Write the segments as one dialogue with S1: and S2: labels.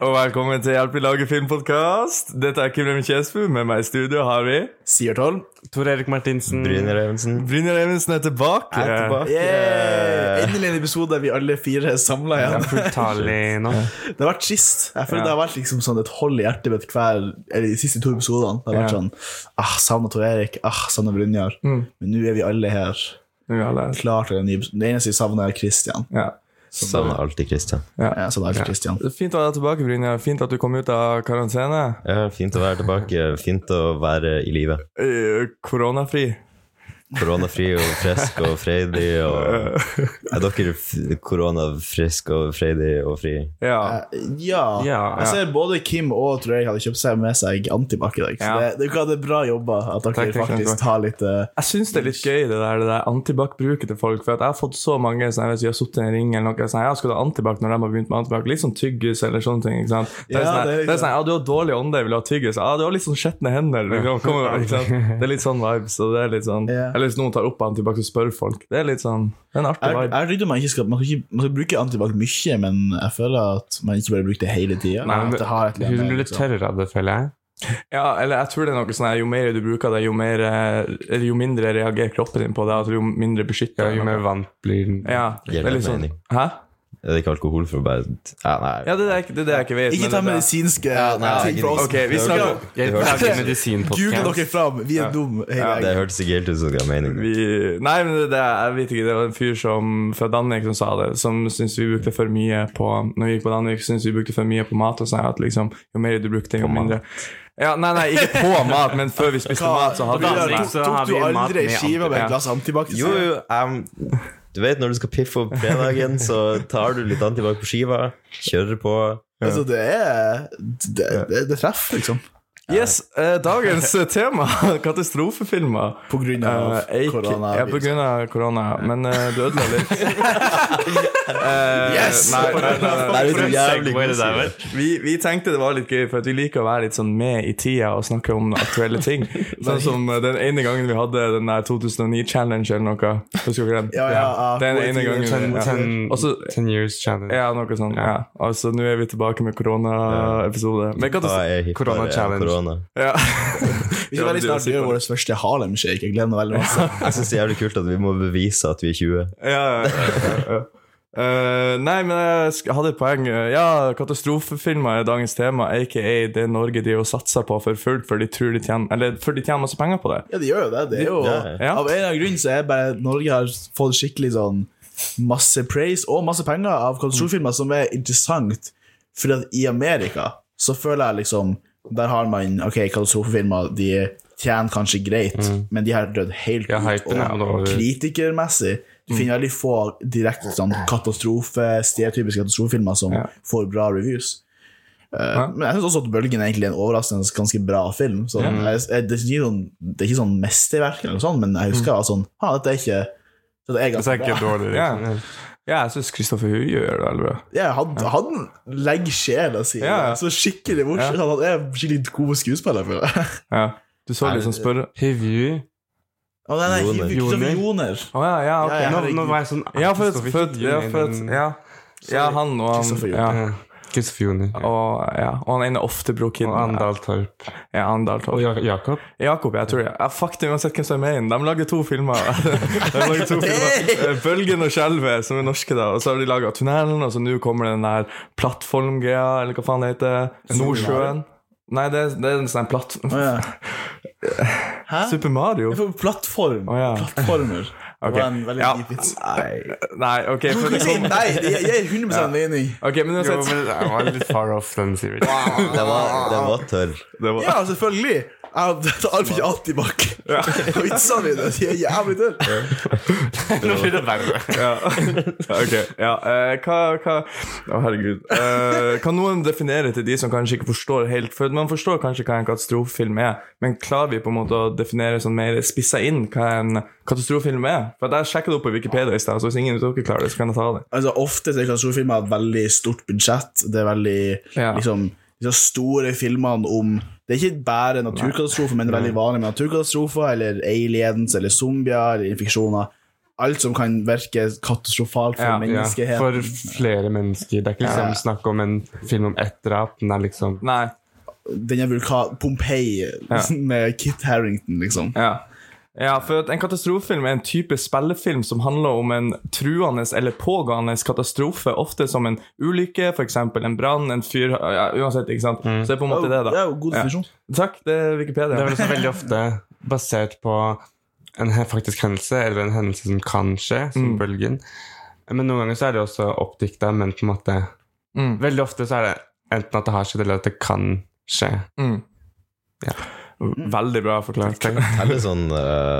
S1: og velkommen til Hjelp i laget filmpodkast. Dette er Kim Remi Kjesbu. Med meg i studio har vi
S2: Sier Tolv.
S3: Tor Erik Martinsen.
S4: Bryner Evensen.
S1: Brynjar Evensen er tilbake.
S4: Er tilbake.
S1: Eh.
S2: Yeah! Endelig en episode der vi alle fire er samla
S3: Ja,
S2: igjen.
S3: fulltallig nå.
S2: Det har vært trist. Jeg føler
S3: Ja.
S2: det har vært liksom sånn et hold i hjertet mitt hver, eller de siste to episodene. Det har vært
S1: Ja.
S2: sånn ah, Savna Tor Erik, ah, savna Brynjar.
S1: Mm.
S2: Men nå er vi alle her.
S1: Ja, det er-
S2: Klart det er en ny episode. Det eneste vi savner, er Christian.
S1: ja.
S4: Savner alltid Christian.
S2: Ja, så det er alltid Christian.
S1: Det er Fint å ha deg tilbake, Brynjar. Fint at du kom ut av karantene.
S4: Ja, fint å være tilbake. Fint å være i live.
S1: Eh, Koronafri.
S4: Koronafri og frisk og freidig. Og... Er dere f- koronafrisk og freidig og fri?
S1: Ja.
S2: Eh, Ja.
S3: Ja,
S2: Jeg
S3: ja.
S2: ser både Kim og Tor Erik hadde kjøpt seg med seg antibac i dag. Så
S1: Ja.
S2: det, det, er jo ikke- det er bra jobba at dere
S1: Takk, takk, takk.
S2: faktisk tar litt eh,
S1: Jeg syns det er litt gøy, det der, det der antibac-bruket til folk. For at jeg har fått så mange som jeg vet, har sittet i en ring eller noe sånn, ja, skal du ha antibac når de har begynt med antibac? Litt sånn tyggis eller sånne ting. ikke sant? Det er
S2: Ja,
S1: sånn,
S2: det er
S1: det
S2: ikke
S1: er sånn, ja, du har dårlig ånde, vil du ha tyggis? Ja, du har litt sånn skjetne hender. Liksom. Kom, igjen, ikke sant? Det er litt sånn vibes. Og det er litt sånn,
S2: Ja.
S1: Eller hvis noen tar opp antibac og spør folk. Det er litt sånn, det er en artig
S2: Jeg jeg
S1: vibe.
S2: har ryddet meg ikke skal, man, skal ikke, man skal bruke antibac mye, men jeg føler at man ikke bør bruke det hele tida.
S3: Nei, men
S2: at det har et eller
S3: Du
S2: annet,
S3: blir litt
S2: liksom.
S3: tørrere av det, føler jeg.
S1: Ja, eller jeg tror det er noe sånn her, Jo mer du bruker det, jo, mer, eh, eller jo mindre reagerer kroppen din på det, og jo mindre beskytter
S3: Ja, jo mer vant blir den.
S1: ja, det er litt sånn,
S4: Gjelder mening.
S1: Hæ?
S4: Er det ikke alkohol for å bare ja, Nei.
S1: Ja, det er det jeg- det er det jeg ikke vet.
S2: Ikke
S1: men
S2: ta
S1: det er-
S2: medisinske
S4: nei,
S2: ting fra oss.
S1: Ok, vi snakker om
S3: Jeg
S4: Det
S3: lager
S2: høres- Google
S3: medisinpodkast.
S2: dere fram! Vi er dumme. hele
S4: Det
S2: gjengen.
S4: hørtes ikke helt ut som det ga mening.
S1: Vi, nei, men det, det, jeg vet ikke, det var en fyr som, fra Danmark som sa det, som syntes vi brukte for mye på Når vi gikk på Danmark, syntes vi brukte for mye på mat. Og sånn at liksom, jo mer du brukte, jo mindre ja, Nei, nei, ikke på mat, men før vi spiste mat, så hadde
S3: Hva-
S1: vi
S2: Tok,
S3: Danmark, så har
S2: tok du
S3: vi mat
S2: aldri
S3: med
S2: skiva med
S1: antibac.
S2: et glass antibac?
S4: Jo, jo, em, du vet når du skal piffe opp fredagen, så tar du litt antibac på skiva, kjører på.
S2: Altså, det er Det, det, det treffer, liksom.
S1: Yes, eh, dagens tema, katastrofefilmer.
S2: På grunn av
S1: Eh, ikke-
S2: korona.
S1: Ja, på grunn av korona. Men eh, du ødela litt. Eh,
S2: Yes!
S1: Nei, nei, nei, nei.
S4: Det er jo så jævlig
S3: Segway det der, vel?
S1: Vi, vi tenkte det var litt gøy, for at vi liker å være litt sånn med i tida og snakke om aktuelle ting. Sånn som eh, den ene gangen vi hadde den der 2009-challenge eller noe. Husker dere den?
S2: Ja, ja, ja.
S1: Den
S2: Gode
S1: ene
S2: tider,
S1: gangen.
S3: Ten,
S1: vi- Ja.
S3: ten,
S1: Også-
S3: ten years challenge.
S1: Ja, noe sånt. Ja. Altså, nå er vi tilbake med koronaepisode. Men hva
S4: Da
S1: du
S4: er jeg hipp bare
S3: Corona challenge.
S4: Korona.
S1: ja.
S2: Vi skal veldig snart gjøre vår første Harlem Shake. Jeg gleder meg veldig masse.
S4: Jeg syns det er jævlig kult at vi må bevise at vi er 20.
S1: ja, ja, ja, ja. Eh, nei, men jeg sk- hadde et poeng. Eh, Ja, katastrofefilmer er dagens tema, aka det Norge de jo satser på for fullt, for de tror de tjener Eller for de tjener masse penger på det.
S2: Ja, de gjør jo det. Det er jo
S4: Ja,
S1: ja.
S2: Av en eller annen grunn så er bare Norge har fått skikkelig sånn masse praise og masse penger av katastrofefilmer som er interessant, fordi at i Amerika så føler jeg liksom Der har man Ok, katastrofefilmer, de tjener kanskje greit, men de har dødd helt
S3: Ja,
S2: ut.
S3: hypen er
S2: Og
S3: over.
S2: kritikermessig du finner veldig få direkte sånn katastrofe, stereotypiske katastrofefilmer som får bra reviews. Eh,
S1: Ja.
S2: Men jeg syns også at Bølgen er egentlig en overraskende ganske bra film. Så jeg, jeg, det, er ikke sånn, det er ikke sånn mesterverk, eller noe sånt, men jeg
S1: Mm.
S2: husker at sånn, ah, dette er ikke dette er
S3: Så
S2: ganske
S3: er ikke
S2: bra.
S3: dårlig.
S1: Ja,
S3: Liksom.
S1: ja jeg syns Kristoffer Hue gjør det veldig bra.
S2: Ja, han, han legger sjela si
S1: Ja, ja.
S2: så skikkelig morsomt. Han er skikkelig god skuespiller. føler jeg.
S1: Ja. Du så litt sånn spørre
S3: Review.
S2: Å, nei, nei,
S4: Joner.
S2: Kristoffer Joner.
S1: Å ja, ja, ok.
S2: Ja, ja.
S3: Nå, nå var jeg sånn
S1: Ja, for at,
S3: Kristoffer
S1: for at, ja,
S3: Joner,
S1: for at
S3: men-
S1: ja. ja, han og
S2: Kristoffer
S1: han
S2: Joner.
S1: ja.
S3: Ja, Kristoffer Joner.
S1: Og, ja. og han ene Oftebro-kiden.
S3: Og Andal Torp.
S1: Ja, Andal Torp.
S3: Og Ja- Jakob.
S1: Jakob, jeg tror jeg. jeg Fuck det, uansett hvem som er med inn. De lagde to filmer. De lagde to filmer Eh, 'Bølgen og skjelvet', som er norske, da. Og så har de laga 'Tunnelen', og så nå kommer den der plattformgreia, eller hva faen det heter. Nordsjøen. Nei, det, er- det er en sånn platt...
S2: Å, ja. Hæ?
S1: Super Mario?
S2: For plattform.
S1: Å, ja.
S2: Plattformer. Det var en veldig
S1: Ja.
S2: deep vits.
S1: Nei, OK. For det kom...
S2: Nei, det gir 100 mening.
S1: Ok, men
S3: Jo,
S1: uansett
S3: men jeg var litt far off den, Sivert.
S4: Den var, den var tørr.
S1: det var...
S2: Ja, selvfølgelig. Jeg tar ikke alltid bak. Vitsene mine de er jævlig tørre.
S3: Nå blir det verre.
S1: Ja. Ok, ja. eh, hva, hva Å, herregud. Eh, kan noen definere til de som kanskje ikke forstår helt For man forstår kanskje hva en katastrofefilm er, men klarer vi på en måte å definere sånn mer spissa inn hva en katastrofefilm er? For at Jeg sjekket det opp på Wikipedia i stad, så hvis ingen av dere klarer det, så kan jeg ta det.
S2: Altså, ofte så er katastrofefilmer et veldig stort budsjett. Det er veldig
S1: Ja.
S2: liksom, disse store filmene om Det er ikke bare naturkatastrofer, men det er veldig vanlig med naturkatastrofer eller aliens eller zombier eller infeksjoner. alt som kan virke katastrofalt for
S1: Ja, ja,
S2: menneskeheten.
S3: For flere mennesker. Det er ikke liksom snakk om en film om ett drap. Den er liksom
S1: Nei.
S2: Denne vulkan... Pompeii med Kit Harrington, liksom.
S1: Ja. ja, for at en katastrofefilm er en type spillefilm som handler om en truende eller pågående katastrofe, ofte som en ulykke, f.eks. en brann, en fyr ja, Uansett, ikke sant. Så det er på en måte det,
S2: Ja,
S1: da.
S2: god definisjon.
S1: Takk, det er Wikipedia.
S3: Mm. Oh, Det er vel også veldig ofte basert på en he- faktisk hendelse, eller en hendelse som kan skje, som bølgen. Men noen ganger så er det også oppdikta, men på en måte
S1: Mm.
S3: Veldig ofte så er det enten at det har skjedd, eller at det kan skje.
S1: Mm.
S3: Ja.
S1: Veldig bra forklart.
S4: Eller sånn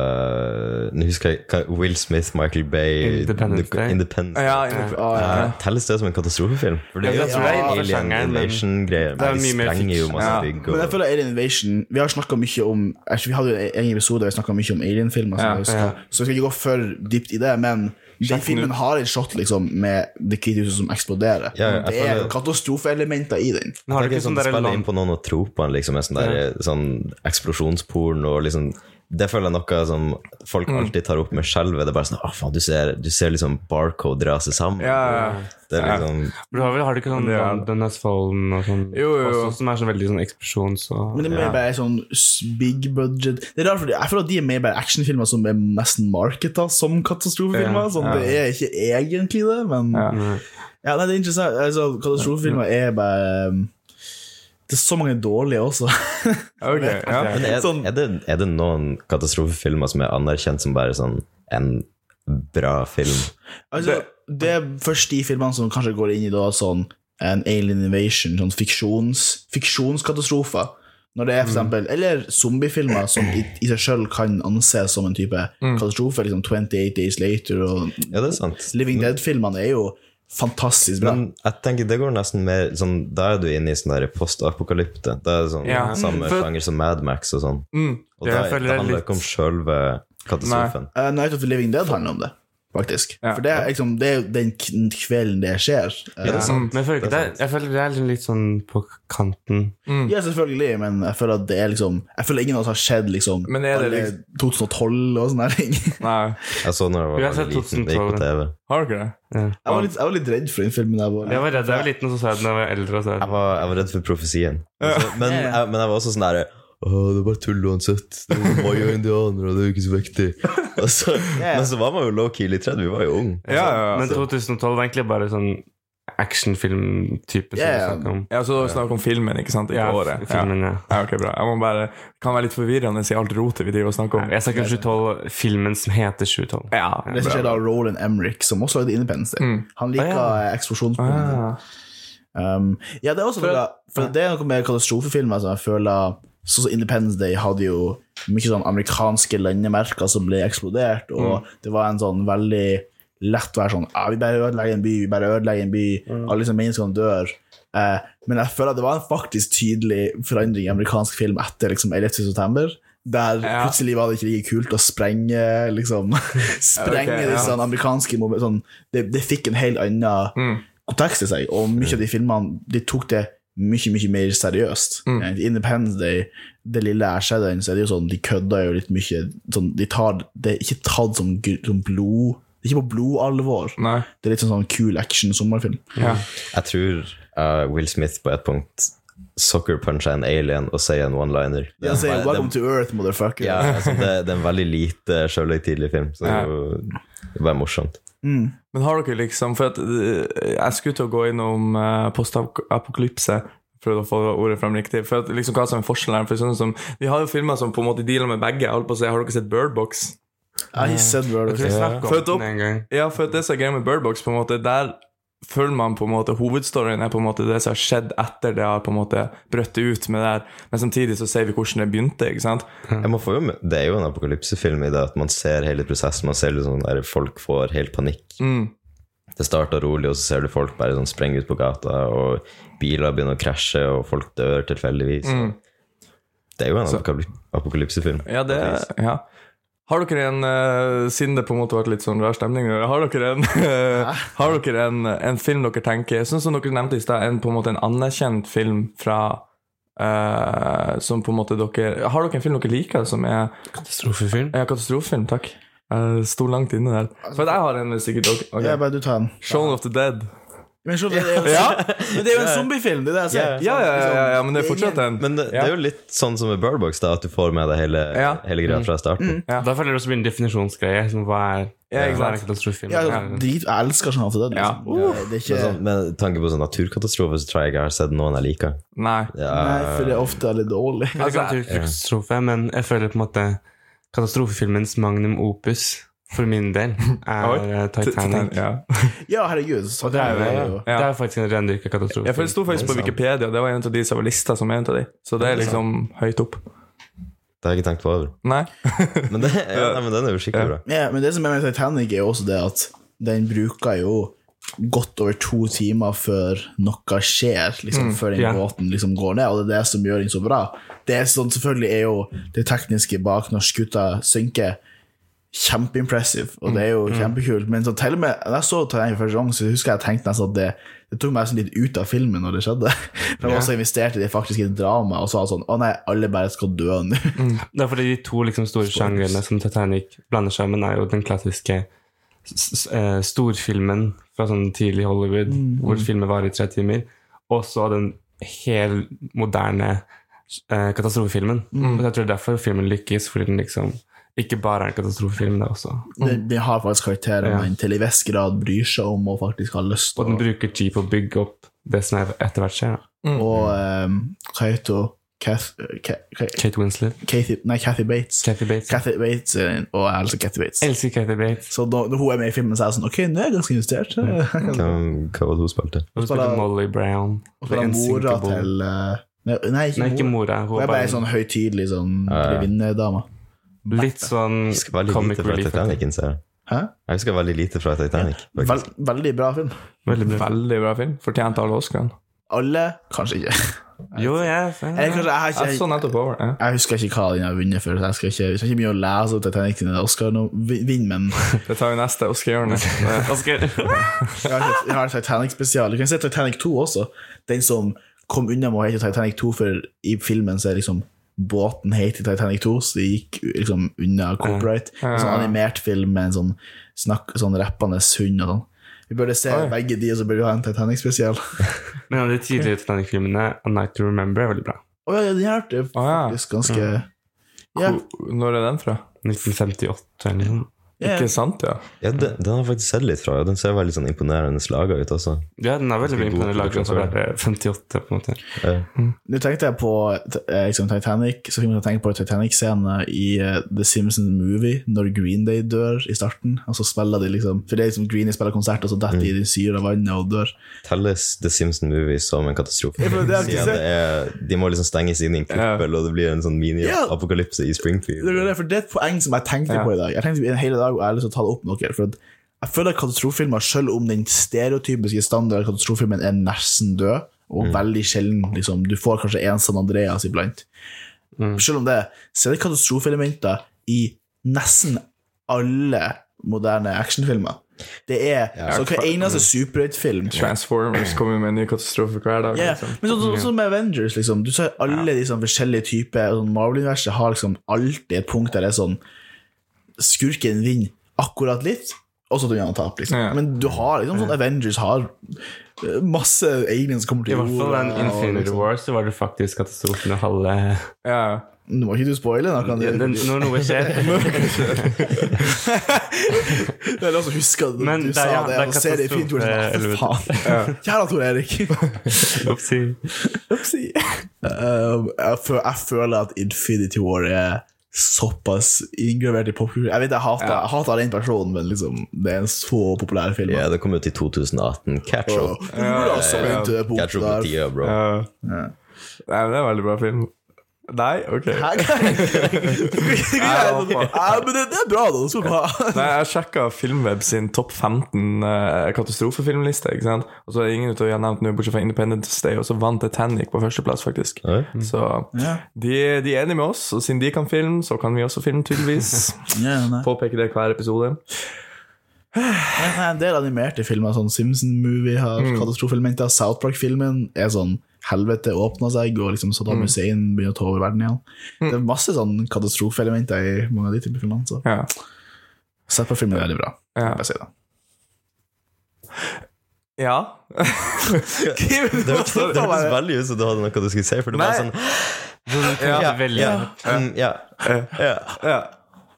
S4: eh, Nå husker jeg hva- Will Smith, Michael Bay
S3: Independence
S4: The-
S3: Day.
S4: Independence
S1: Ja,
S4: Day.
S1: ja.
S2: Ah, ja.
S4: Eh, Telles det som en katastrofefilm? For det er
S3: Ja,
S4: jo
S3: jeg
S4: ja,
S3: tror det er innenfor
S4: alien
S3: sjangeren, men
S4: invasion-greier.
S3: det er
S4: men De
S3: mye mer
S4: sprenger jo
S3: fiks-
S4: masse
S1: Ja,
S4: bygg.
S2: Men jeg
S4: Og,
S2: føler Alien Invasion Vi har snakket mye om Actually, Vi hadde jo en egen episode der vi snakket mye om
S1: Ja,
S2: alien-filmer. som jeg husker.
S3: ja.
S2: Så jeg skal ikke gå for dypt i det, men den filmen har et shot liksom med det hvite huset som eksploderer.
S4: Ja, ja, jeg
S2: det er
S4: føler-
S2: katastrofeelementer i den.
S3: Men har du
S4: det
S3: ikke
S4: er sånn,
S3: sånn
S4: det
S3: derre
S4: spiller
S3: land-
S4: inn på noen av tropene, liksom, med sånn, der, sånn eksplosjonsporn og liksom Det føler jeg er noe som folk alltid tar opp med skjelvet. Det er bare sånn Å, faen, du ser, du ser liksom barcode rase sammen.
S1: Ja, ja.
S4: Det er liksom
S3: Du har, vel, har du ikke sånn
S1: Det er-
S3: London Has Fallen og sånn?
S1: Jo, jo, jo.
S3: Også, som er sånn veldig sånn eksplosjons og
S2: Men det er mer bare sånn s- big budget Det er rart, fordi Jeg føler at de er mer bare actionfilmer som er nesten marketa som katastrofefilmer.
S3: Ja,
S2: Sånn, Det er ikke egentlig det, men ja. nei, det er interessant. Altså, katastrofefilmer er bare um, Det er så mange dårlige også.
S1: Ok, ja.
S4: Men er,
S2: Sånn-
S4: er, det, er det noen katastrofefilmer som er anerkjent som bare sånn en bra film?
S2: Altså, det, er først de filmene som kanskje går inn i da sånn en alien invasion, sånn fiksjons, fiksjonskatastrofer. Når det er for
S1: Mm.
S2: eksempel, Eller zombiefilmer som i, i seg sjøl kan anses som en type
S1: Mm.
S2: katastrofe. liksom 28 Days Later og
S4: Ja, det er sant.
S1: Mm.
S2: Living Dead-filmene er jo fantastisk bra.
S4: Men jeg tenker det går nesten mer sånn Da er du inne i sånn der postapokalypte. Det er det sånn
S1: Ja.
S4: samme
S1: For-
S4: sjanger som Mad Max og sånn.
S1: Mm.
S4: Og
S3: Det
S4: da,
S3: føler
S4: det
S3: jeg
S4: handler
S3: litt-
S4: ikke om sjølve katastrofen.
S2: Eh, Night of the Living Dead handler om det, faktisk.
S1: Ja.
S2: For det er, liksom, det er jo den k- kvelden det skjer. Eh,
S4: Ja, det er sant.
S3: Men jeg føler, ikke, det er, jeg føler det er litt sånn på kanten.
S1: Mm.
S2: Ja, selvfølgelig, men jeg føler at det er liksom Jeg føler ingen av oss har skjedd liksom,
S1: Men er det
S2: alle
S1: liksom-
S2: 2012 og sånne her ting.
S1: Nei.
S4: Jeg så når jeg
S3: Vi
S4: var
S3: har sett
S4: veldig liten, det gikk på
S3: 2012.
S4: TV.
S1: Har dere det?
S2: Jeg var litt, jeg var litt redd for den filmen. Jeg var,
S3: Jeg var redd jeg var liten, og så sa jeg det da jeg var eldre. Og så er
S4: Jeg
S3: det-
S4: var, jeg var redd for profesien. Altså, men, jeg, men jeg var også sånn derre Åh, det er bare tull uansett. Det er jo maya og indianere, og det er jo ikke så viktig. Altså, Men så var man jo low-key litt redd. Vi var jo unge.
S1: Ja, ja, ja.
S3: Men 2012 var egentlig bare sånn actionfilm-type. som vi
S2: Ja, ja.
S3: snakket om.
S1: Ja, så da snakker vi om filmen, ikke sant? Ikke
S3: Ja,
S1: året. Ja.
S3: filmen, ja.
S1: ja, ok, bra. Jeg må bare, det kan være litt forvirrende i alt rotet vi driver og snakker om.
S3: Jeg snakker om 2012, filmen som heter 2012.
S1: Ja,
S2: det som
S1: bra.
S2: skjer da Roland Emrik, som også lagde Independence Day. Han liker
S3: Ah,
S2: ah, eksplosjonsbomber.
S1: Ah.
S2: Um, ja, det er også for, for det er noe med katastrofefilmer som jeg føler Sånn som Independence Day hadde jo mye sånn amerikanske landemerker som ble eksplodert,
S1: Mm.
S2: og det var en sånn veldig lett å være sånn ah, 'Vi bare ødelegger en by, vi bare ødelegger en by.'
S1: Mm.
S2: Alle disse menneskene dør. Eh, men jeg føler at det var en faktisk tydelig forandring i amerikansk film etter liksom, 11. september. Der
S1: Ja.
S2: plutselig var det ikke like kult å sprenge liksom, sprenge
S1: Ok, ja.
S2: disse sånn amerikanske moment, sånn, det, det fikk en helt annen
S1: Mm.
S2: kontekst i seg, og mye av de filmene de tok det mye, mye mer seriøst.
S1: Mm.
S2: Eh, Independence Day, det lille jeg ser den, så er det jo sånn, de kødder jo litt mye, sånn, de tar, det er ikke tatt som, gu- som blod, det er ikke på blodalvor.
S1: Nei.
S2: Det er litt sånn, sånn kul action sommerfilm.
S1: Ja.
S4: Jeg tror eh, Will Smith på et punkt sucker puncher en alien og sier en one-liner. Det,
S2: Jeg sier,
S4: er bare-
S2: welcome to earth, motherfucker.
S4: det- ja, altså, det, det er en veldig lite sjølhøytidelig film, så det er jo det er bare morsomt.
S2: Mm.
S1: Men har dere liksom For at øh, jeg skulle til å gå innom uh, postapokalypse. Prøvde å få ordet frem riktig. For at liksom Hva som er forskjellen her? For sånn som, vi har jo filmer som på en måte dealer med begge. Jeg holdt på å si, Har dere sett Birdbox?
S2: Jeg har ikke sett World
S3: Jeg tror vi snakket
S1: Født
S3: om
S1: opp.
S3: den en gang.
S1: Ja, for at det som er greia med Birdbox, på en måte, der følger man på en måte hovedstoryen er på en måte det som har skjedd etter det har på en måte brøtt ut med det her, men samtidig så ser vi hvordan det begynte, ikke sant?
S4: Jeg må få jo, med- det er jo en apokalypsefilm i det at man ser hele prosessen. Man ser liksom der folk får helt panikk. Det starter rolig, og så ser du folk bare sånn sprenge ut på gata, og biler begynner å krasje, og folk dør tilfeldigvis. Det er jo en apokalyp- apokalypsefilm.
S1: Ja, det ja. Har dere en, eh, siden det på en måte har vært litt sånn rar stemning, nå, har dere en, eh, har dere en, en film dere tenker, sånn som dere nevnte i sted, en, på en måte en anerkjent film fra eh, som på en måte dere Har dere en film dere liker som er
S3: Katastrofefilm.
S1: ja, katastrofefilm? Takk. Jeg sto langt inne der. For at jeg har en, eh, hvis ikke dere
S2: Ja,
S1: okay.
S2: bare du tar den.
S1: Shaun of the Dead.
S2: Men, så, det er jo, men det er jo en zombiefilm, det er det jeg sier.
S1: Ja, ja, ja, ja, ja men det er fortsatt en.
S4: Men det, det er jo litt sånn som med Birdbox, da, at du får med deg hele,
S1: Ja.
S4: hele greia fra starten.
S1: Ja.
S3: Da føler det også blir en definisjonsgreie. Som hva
S1: Ja,
S3: er,
S1: altså, ikke
S3: hva er
S1: sant.
S3: en katastrofefilm?
S2: Ja,
S3: Hva er-
S2: drit, jeg elsker sånn Half-Dead. Liksom. Det, det er
S4: Men
S2: ikke
S4: sånn, med tanke på sånn naturkatastrofe, så tror jeg ikke jeg har sett noen jeg liker.
S1: Nei.
S4: Ja,
S2: Nei, for det er ofte litt dårlig.
S3: Jeg
S1: altså,
S3: vet ikke om det er katastrofe, men jeg føler på en måte katastrofefilmens magnum opus for min del er eh, Titanic.
S1: Ja.
S2: Ja, herregud. Så det er jo
S3: Det er faktisk en rendyrka
S1: Ja, for
S3: katastrofe.
S1: det sto faktisk på Wikipedia, og det var en av de som var lista som en av de. Så det er liksom høyt opp.
S4: Det har jeg ikke tenkt på over.
S1: Nei.
S4: Men, det, ja, nei, men den er jo skikkelig bra.
S2: ja, Men det som er med Titanic, er jo også det at den bruker jo godt over to timer før noe skjer, liksom, før den
S3: ja.
S2: båten liksom går ned, og det er det som gjør den så bra. Det er sånn, Selvfølgelig er jo det tekniske bak når skuta synker, kjempeimpressive, og det er jo kjempekult. Men så til og med da jeg så Titanic første gang, så husker jeg jeg tenkte nesten at det, det tok meg sånn litt ut av filmen når det skjedde. For jeg var så investert i det faktiske dramaet og sa sånn Å nei, alle bare skal dø nå.
S3: Det er fordi de to liksom store sjangrene som Titanic blander sammen, er jo den klassiske s- s- eh, storfilmen fra sånn tidlig Hollywood,
S2: Mm,
S3: hvor filmer varer i tre timer, og så den helt moderne eh, katastrofefilmen.
S2: Mm.
S3: Og jeg tror det er derfor filmen lykkes, fordi den liksom ikke bare er en katastrofefilm, det er også.
S2: Den, den har faktisk karakterer man til i viss grad bryr seg om og faktisk har lyst
S3: Og
S2: til.
S3: den
S2: å-
S3: bruker tid på å bygge opp det som er etter hvert skjer. da.
S2: Og um, hva heter hun? Kath- Ka- Ka-
S3: Kate Winslet,
S2: Kathy- Nei, Kathy Bates.
S3: Kathy Bates.
S2: Kathy Bates eh, og jeg elsker Kathy Bates.
S3: Jeg elsker Kathy Bates.
S2: Så da, når hun er med i filmen, så er jeg sånn Ok, nå er jeg ganske investert.
S4: Hvem, hva var det hun spilte?
S2: spiller-
S3: Hun spiller Molly Brown.
S2: Og så er det mora
S3: Invincible.
S2: til eh, Nei, nei, ikke,
S3: Nei, ikke
S2: mora.
S3: mora. Hun
S2: Hun
S3: er
S2: er bare ei
S3: bare
S2: sånn høytidelig sånn
S4: Ja, ja.
S2: grevinnedame.
S3: litt sånn
S4: Jeg husker veldig
S3: comic
S4: lite fra
S3: relief.
S4: Titanic. innser Jeg
S2: Hæ?
S4: Jeg husker veldig lite fra Titanic. faktisk.
S2: Vel, veldig bra film.
S3: Veldig bra.
S1: Veldig bra film. Fortjente alle Oscarene.
S2: Alle? Kanskje ikke.
S3: Jo, jeg
S2: Eller kanskje jeg har
S1: Jeg
S2: ikke
S1: så nettopp over det.
S2: Jeg husker ikke hva den har vunnet for. så Jeg skal ikke, jeg skal ikke mye å lese om Titanic sine Oscar-vinn, men
S1: Det tar jo neste Oscar-hjørne. Altså,
S2: jeg har, jeg har Titanic-spesial. Du kan se Titanic 2 også. Den som kom unna med å hete Titanic 2, for i filmen så er liksom båten heter Titanic 2, så det gikk liksom unna copyright. En sånn animert film med en sånn, snakk, sånn rappende hund og sånn. Vi burde se begge de, og så burde vi ha en Titanic-spesial. Å
S3: Men en av de tidligere Titanic-filmene, A Night to Remember, er veldig bra.
S2: ja, ja, den her
S1: ja.
S2: er
S1: Mm.
S2: faktisk ganske Ja,
S1: Når er den fra?
S3: 1958 eller noe.
S2: ja.
S1: Ikke sant, ja.
S4: Ja, den, den har jeg faktisk sett litt fra. og Den ser veldig sånn imponerende laga ut også.
S3: Ja, den er veldig
S4: Ganske god
S3: imponerende laget altså. fra
S4: produksjon,
S3: 58, på en måte.
S4: Eh,
S2: Nå tenkte jeg på eh, liksom Titanic, så fikk jeg tenke på Titanic-scenen i eh, The Simpsons Movie, når Green Day dør i starten. Og så spiller de liksom For det er liksom Green Day spiller konsert, og så detter de i den syre vannet og dør.
S4: Telles The Simpsons Movie som en katastrofe?
S2: for det har jeg ikke
S4: Siden det er, de må liksom stenges inn i en kuppel, og det blir en sånn
S2: Ja.
S4: mini-apokalypse i
S2: Det er,
S4: Springfield.
S2: det, for det er et poeng som jeg tenkte på i dag. Jeg tenkte på en hele dag, og jeg har lyst til å ta det opp med dere. For at jeg føler at katastrofefilmer, selv om den stereotypiske standard katastrofefilmen er nesten død, og veldig sjelden liksom, Du får kanskje en San Andreas iblant. Selv om det, så er det katastrofeelementer i nesten alle moderne actionfilmer. Det er så hver eneste superhøytfilm
S1: Transformers kommer med en ny katastrofe hver dag.
S2: Ja,
S1: Liksom.
S2: men sånn så, som med Avengers, liksom. Du ser alle de sånn forskjellige typer sånn Marvel-universet har liksom alltid et punkt der det er sånn Skurken vinner akkurat litt, og så tar han tap, liksom.
S1: Ja.
S2: Men du har liksom sånn Avengers har eh, masse aliens som kommer
S3: I
S2: til
S3: hvert fall
S2: jorda.
S3: den Infinity
S2: liksom.
S3: War, så var det faktisk katastrofen og halve
S1: Ja.
S2: Nå må ikke du spoile noe.
S3: Ja, den-
S2: Det
S3: Når noe skjer.
S2: er altså huske at du
S3: Men det er-
S2: sa
S3: ja,
S2: det,
S3: det er
S2: og ser det i fint ord.
S3: katastrofe-
S2: For faen. Kjære Tor Erik.
S3: Oppsi.
S2: Upsi. Um, jeg, føl- jeg føler at Infinity War er såpass inngravert i popkultur. Jeg vet jeg hater, jeg hater den personen, men liksom, det er en så populær film.
S4: Ja, det kom ut i 2018. Catch
S2: Og-
S4: up.
S2: Du burde også
S1: ja, ja.
S2: vente på
S4: Catch up
S2: der.
S4: på tida, bro.
S1: Ja. Nei, men det er en veldig bra film. Nei, ok.
S2: Hæ? Ja, men det, det er bra, da. Så bra.
S1: Nei, jeg sjekka Filmweb sin topp 15 eh, katastrofefilmliste. ikke sant? Og så er det ingen av de jeg har nevnt nå, bortsett fra Independence Day, og så vant Titanic på førsteplass, faktisk.
S4: Oi.
S2: Mm.
S1: Så de, de er enige med oss, og siden de kan film, så kan vi også film, tydeligvis.
S2: Ja, nei.
S1: Påpeker det hver episode.
S2: Nei, nei, en del animerte filmer, sånn Simpson-movie har katastrofeelementer. South Park-filmen er sånn helvete åpna seg, og liksom Saddam Hussein begynner å ta Mm. over verden igjen. Det er masse sånn katastrofeelementer i mange av de typer filmene. Så.
S1: Ja.
S2: Zappa-filmen er veldig bra.
S1: Ja.
S2: Bare si det.
S1: Ja.
S4: Det hørtes det
S1: Ja,
S4: hørtes veldig ut som du hadde noe du skulle si, for det var sånn
S3: Ja,
S4: Ja,
S3: veldig.
S4: ja, mm, ja, ja.
S1: Ja.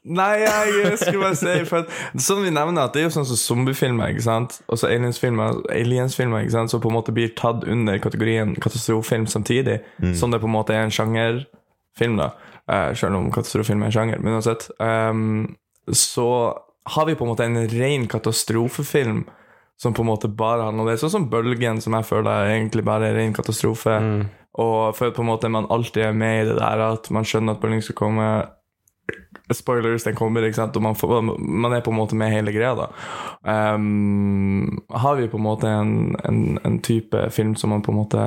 S1: Nei, jeg eh, skulle bare si for at, Sånn vi nevner at det er jo sånn som zombiefilmer ikke sant? Og så aliensfilmer, aliensfilmer ikke sant? Som på en måte blir tatt under kategorien katastrofefilm samtidig Som det på en måte er en sjangerfilm da eh, Selv om katastrofefilm er en sjanger Men uansett ehm, Så har vi på en måte en ren katastrofefilm Som på en måte bare handler om det Sånn som Bølgen som jeg føler er egentlig bare er ren katastrofe Og for at på en måte man alltid er med i det der At man skjønner at Bølgen skal komme spoilers, den kommer, ikke sant? og man, får, man er på en måte med hele greia, da. Ehm, har vi på en måte en, en, en type film som man på en måte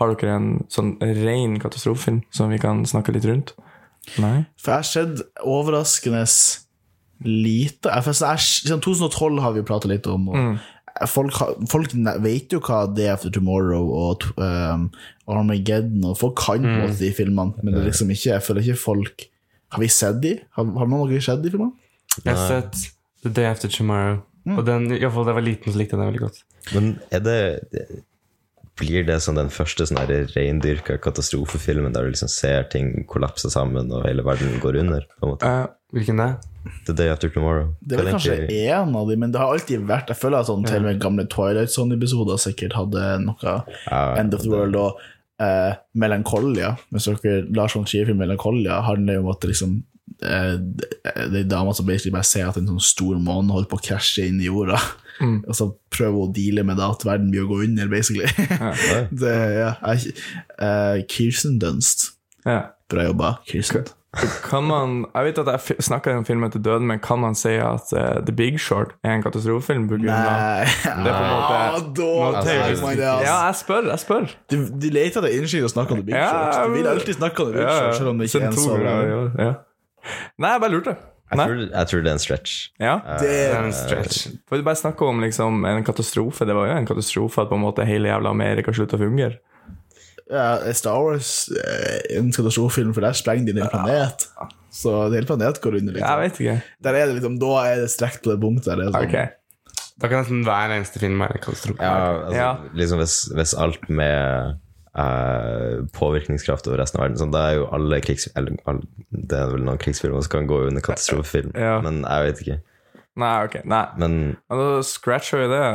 S1: Har dere en sånn ren katastrofefilm som vi kan snakke litt rundt? Nei?
S2: For jeg har sett overraskende lite. Jeg, for jeg, siden 2012 har vi prata litt om, og folk, har- folk ne- vet jo hva det er After Tomorrow og t- um, Armageddon, og folk kan på en måte de filmene, men det er liksom ikke, jeg føler ikke folk Har vi sett de? Har, har noen av dere sett de filmene?
S3: Jeg har sett The Day After Tomorrow. Og den, i hvert fall da jeg var liten, så likte jeg den veldig godt.
S4: Men er det det- Blir det sånn den første sånn her reindyrka katastrofefilmen der du liksom ser ting kollapse sammen og hele verden går under? på en måte?
S1: Eh,
S3: Hvilken det?
S4: The Day After Tomorrow.
S2: Det er vel
S4: Hva
S2: kanskje
S4: tenker-
S2: én av de, men det har alltid vært Jeg føler at sånn, til og med gamle Twilight Zone-episoder sikkert hadde noe
S4: Ja,
S2: End of the World og eh, Melancholia. Hvis dere Lars von Trier-film Melancholia handler jo om at liksom eh, det er dama som basically bare ser at en sånn stor måne holder på å krasje inn i jorda.
S1: Mm.
S2: Og så prøver hun å deale med det at verden blir å gå under, basically. det, ja, jeg, eh, Kirsten Dunst.
S1: ja.
S2: Bra jobba, Kirsten.
S1: Kan man Jeg vet at jeg fi- snakker om filmen til døden, men kan man si at eh, The Big Short er en katastrofefilm? på grunn av-
S2: Nei
S1: Det er på en måte
S2: Ah, da-
S1: Nå
S2: Nei,
S1: tøyer du.
S2: men det er altså-
S1: Ja, jeg spør, jeg spør.
S2: Du, du leter etter innskyld å snakke om The Big
S1: Ja,
S2: Short. Du vil
S1: men-
S2: alltid snakke om The Big
S1: Ja,
S2: Short, selv om det ikke
S1: siden
S2: er en sånn-
S1: to
S2: så bra.
S1: ganger, ja, ja. Nei, jeg bare lurte.
S4: Jeg
S1: Nei?
S4: tror, jeg tror det er en stretch.
S1: Ja.
S2: Det
S3: Det er en stretch.
S1: For du bare snakker om liksom, en katastrofe. Det var jo en katastrofe at på en måte hele jævla Amerika slutta å fungere.
S2: ja, Star Wars eh, en katastrofefilm, for der sprenger de en hel planet. Så en hel planet går under.
S1: Jeg
S2: Liksom.
S1: vet ikke.
S2: Der er det liksom, da er det strekt på det punktet. Der, det er sånn.
S1: Ok.
S3: Da kan nesten hver eneste film være en katastrofe.
S4: Ja, altså,
S1: Ja.
S4: Liksom hvis, hvis alt med eh, påvirkningskraft over resten av verden sånn, Da er jo alle krigs... Eller, all, det er vel noen krigsfilmer som kan gå under katastrofefilm,
S1: Ja.
S4: men jeg vet ikke.
S1: Nei, ok. Nei.
S4: Men
S1: Ja, Da scratcher vi det.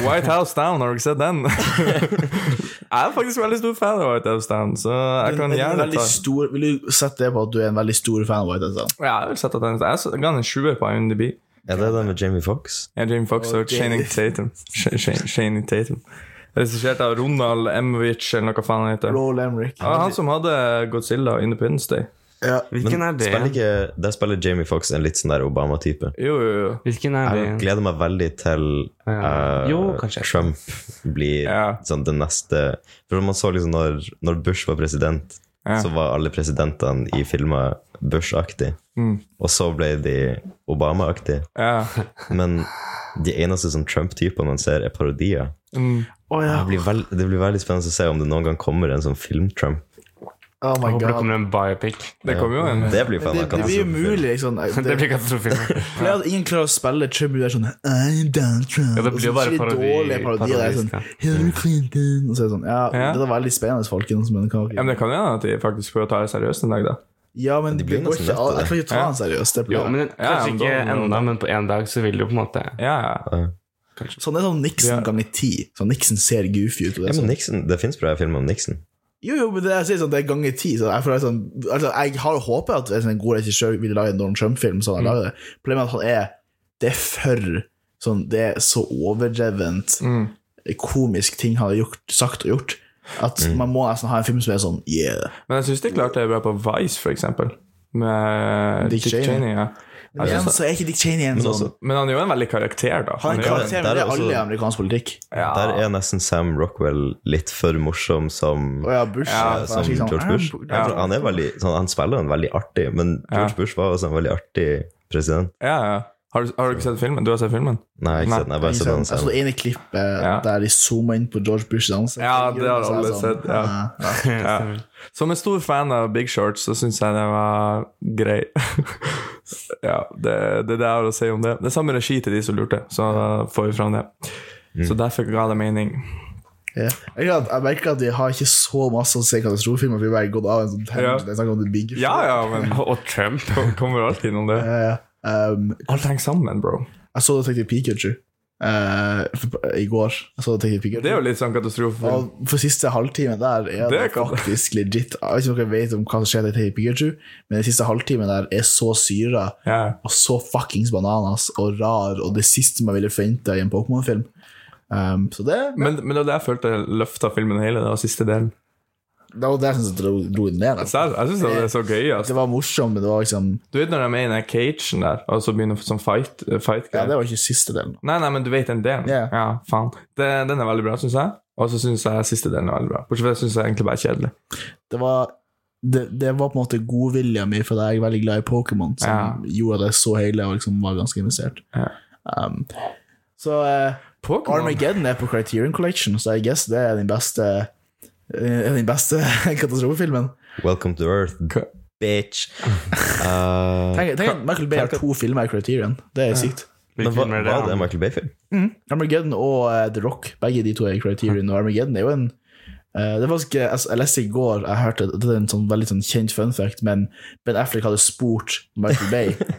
S1: White House Down, har du ikke sett den? jeg er faktisk veldig stor fan av White House Down, så jeg
S2: Men
S1: kan
S2: er du
S1: gjerne
S2: veldig
S1: ta
S2: stor, Vil du sette det på at du er en veldig stor fan av White House? Down?
S1: ja, jeg vil sette at den Jeg ga den en sjuer på IMDb.
S4: er det den med Jamie Fox?
S1: Ja, Jamie Foxx og
S2: Ok.
S1: Channing Tatum. Sh- Sh- Channing Tatum. Regissert av Ronald Emwich, eller noe faen han heter.
S2: Roll Emmerich.
S1: Ja, han som hadde Godzilla og Independence Day.
S2: Ja. Oh
S3: Hvilken er
S4: Spiller
S3: det?
S4: ikke, der spiller Jamie Fox en litt sånn der Obama-type.
S1: Jo, jo, jo.
S3: Hvilken er
S4: Jeg
S3: det?
S4: gleder meg veldig til
S3: Ja.
S4: eh,
S3: Jo, kanskje.
S4: Trump blir
S1: Ja.
S4: sånn den neste For man så liksom når, når Bush var president,
S1: Ja.
S4: så var alle presidentene i filmer Bush-aktig. Og så ble de Obama-aktige.
S1: Mm. Ja.
S4: Men de eneste sånn Trump-typene man ser, er parodier.
S1: Mm.
S2: Å ja.
S4: Det blir, vel- det blir veldig spennende å se om det noen gang kommer en sånn film-Trump.
S2: Oh my
S3: Jeg håper det
S2: god.
S3: kommer en biopic.
S1: Det kom jo en
S4: Det blir
S2: Det,
S4: faen
S2: det
S4: meg
S2: blir
S4: katastrofefilm.
S2: umulig. Liksom. Det,
S3: Det blir katastrofefilm.
S2: For det at ingen klarer å spille tribute er sånn I'm Donald Trump.
S3: Ja, det blir jo bare
S2: Og så er
S3: parodi-
S2: dårlige parodier. Det er sånn
S3: parodisk,
S2: Hillary Clinton Og så er det sånn Ja,
S1: Ja.
S2: det er veldig spennende, folkens. Men, kan
S1: Ja,
S2: ikke-
S1: men Det kan jo hende at de faktisk prøver å ta det seriøst en dag, da.
S2: ja, men det
S4: blir
S2: går
S4: nesten
S2: ikke
S4: nødt til
S2: Jeg kan ikke ta
S1: Ja.
S2: han seriøst. Det blir
S3: Jo, men
S1: Ja,
S3: Kanskje
S1: men da-
S3: ikke ennå, men på en dag så vil det jo på en måte
S1: Ja, ja.
S2: Sånn er sånn Nixon
S1: Ja.
S2: ganger ti. Sånn Nixon ser goofy ut. Og det, er
S4: Ja, men
S2: sånn.
S4: Nixon, det fins bra filmer om Nixon.
S2: Jo, jo, men det jeg sier sånn, det er ganger ti. Så jeg, føler sånn, altså, jeg har jo håpet at en sånn god regissør ville lage en Donald Trump-film. Sånn, mm. det. Problemet er at han er Det er for sånn, Det er så overdrevent
S4: Mm.
S2: komisk ting han har gjort, sagt og gjort. At
S4: Mm.
S2: man må nesten ha en film som er sånn Yeah.
S1: Men jeg syns de klarte det bra på Vice, for eksempel. Med
S2: Dick
S1: Dick,
S2: Cheney.
S1: Cheney. ja. Jeg
S2: Men
S1: synes-
S2: så er ikke Dick Cheney en
S4: Men altså,
S2: sånn
S4: også,
S1: Men han er jo en veldig karakter, da.
S2: Han er en
S1: er jo-
S2: karakter, men
S4: der
S2: det
S4: er
S2: er alle
S4: også-
S2: i amerikansk politikk.
S1: ja.
S4: der er nesten Sam Rockwell litt for morsom som
S2: Og ja, Bush
S1: Ja,
S2: er-
S4: som
S2: jeg er
S4: George
S2: sånn,
S4: Bush.
S2: «Ah,
S4: Jeg tror Han, er veldig, sånn, han spiller en veldig artig, men George Bush var også en veldig artig president.
S1: ja, ja. Har, du, har du ikke sett filmen? Du har sett filmen?
S4: Nei, jeg har ikke sett den. Jeg har bare sånn. sett
S2: Jeg
S4: Altså, den
S2: så
S4: selv.
S2: Altså, det ene klippet
S1: Ja.
S2: der de zoomer inn på George Bushs ansikt.
S1: Ja, det har
S2: Så er
S1: alle
S2: sånn,
S1: sett, ja.
S2: ja.
S1: Som en stor fan av Big Shorts så syns jeg det var grei. ja, det, det er det jeg har å si om det. Det er samme regi til de som lurte, så da får vi fram det. Så derfor ga det mening.
S2: Ja. Jeg, kan- jeg merker at vi har ikke så masse å se katastrofefilmer, for vi har bare gått av en sånn tangent.
S1: Ja.
S2: Jeg snakker om The Big
S1: Ja, ja, men
S3: Og Trump.
S1: kom- kommer alltid innom det.
S2: Eh, um,
S1: Alt henger sammen, bro.
S2: jeg så Detektiv Pikachu eh, for- i går. Jeg så Detektiv Pikachu.
S1: Det er jo litt sånn katastrofe.
S2: Og for siste halvtimen der er det,
S1: Det kan-
S2: faktisk legit Jeg vet ikke om dere vet om hva som skjer i Detektiv Pikachu, men den siste halvtimen der er så syra
S1: Ja.
S2: og så fuckings bananas og rar og det siste man ville forventa i en Pokémon-film. Um, så det
S1: Men, men det var det jeg følte løfta filmen hele, det var siste delen.
S2: Det var det jeg synes dro, dro den ned.
S1: Så
S2: Altså.
S1: jeg, jeg syns det er så gøy.
S2: Det
S1: Altså.
S2: var morsomt, men det var liksom
S1: Du vet når de er i den cagen der, og så begynner sånn fight, fight
S2: Ja, det var ikke siste delen.
S1: Nei, nei, men du vet den delen.
S2: Ja.
S1: Ja, faen. Den, den er veldig bra, syns jeg. Og så syns jeg siste delen er veldig bra. Bortsett fra det syns jeg egentlig bare er kjedelig.
S2: Det var, det, det var på en måte godvilja mi, for jeg er veldig glad i Pokémon, som gjorde at jeg så hele og liksom var ganske investert.
S1: Ja.
S2: Um, så eh,
S1: Pokémon
S2: Armageddon er på Criterion Collection, så I guess det er den beste eh, den beste katastrofefilmen.
S4: Welcome to Earth,
S1: K-
S4: bitch. Uh,
S2: Tenk, tenk, at Michael Bay har to filmer i Criterion. Det er sykt.
S4: men hva,
S3: Hvilken er
S4: hva
S3: det?
S4: er det
S3: da?
S4: Michael Bay-film?
S2: Armageddon og eh, The Rock, begge de to er i Criterion, og Armageddon er jo en eh, det er faktisk, eh, altså, Jeg leste i går Jeg hørte det er en sånn veldig sånn kjent fun fact, men Ben Affleck hadde spurt Michael Bay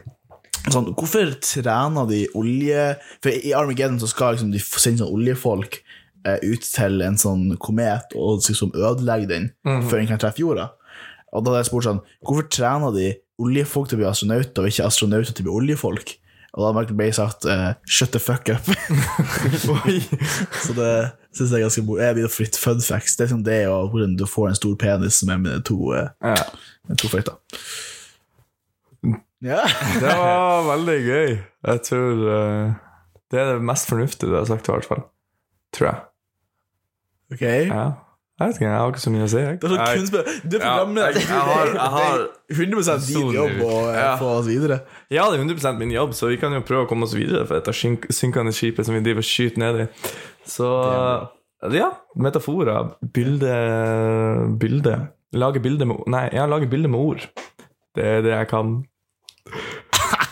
S2: sånn, Hvorfor trener de olje For i Armageddon så skal liksom, de sende sånn oljefolk eh, ut til en sånn komet og liksom ødelegge den før den kan treffe jorda. Og da hadde jeg spurt sånn Hvorfor trener de oljefolk til å bli astronauter, og ikke astronauter til å bli oljefolk? Og da hadde Michael Bay sagt eh, 'shut the fuck up'. så det syns jeg er ganske moro. Jeg blir fritt fun facts. Det er sånn det og hvordan du får en stor penis som er med to, eh,
S1: Ja.
S2: med to føyter. Ja.
S1: Det var veldig gøy. Jeg tror eh, det er det mest fornuftige du har sagt, i hvert fall. Tror jeg.
S2: Ok.
S1: Ja. Jeg vet ikke, jeg har ikke så mye å si. Jeg.
S2: Det er sånn
S1: Jeg-
S2: kunstner Du er
S1: Ja,
S2: programleder.
S1: jeg- jeg har- jeg har-
S2: det er 100 din
S3: Solen
S2: jobb å eh,
S1: Ja.
S2: få oss videre.
S1: Ja, det er 100 min jobb, så vi kan jo prøve å komme oss videre fra dette syn- synkende skipet som vi driver og skyter ned i. Så ja, metaforer. Bilde Bilde. Lage bilde med Nei, ja, lage bilde med ord. Det er det jeg kan.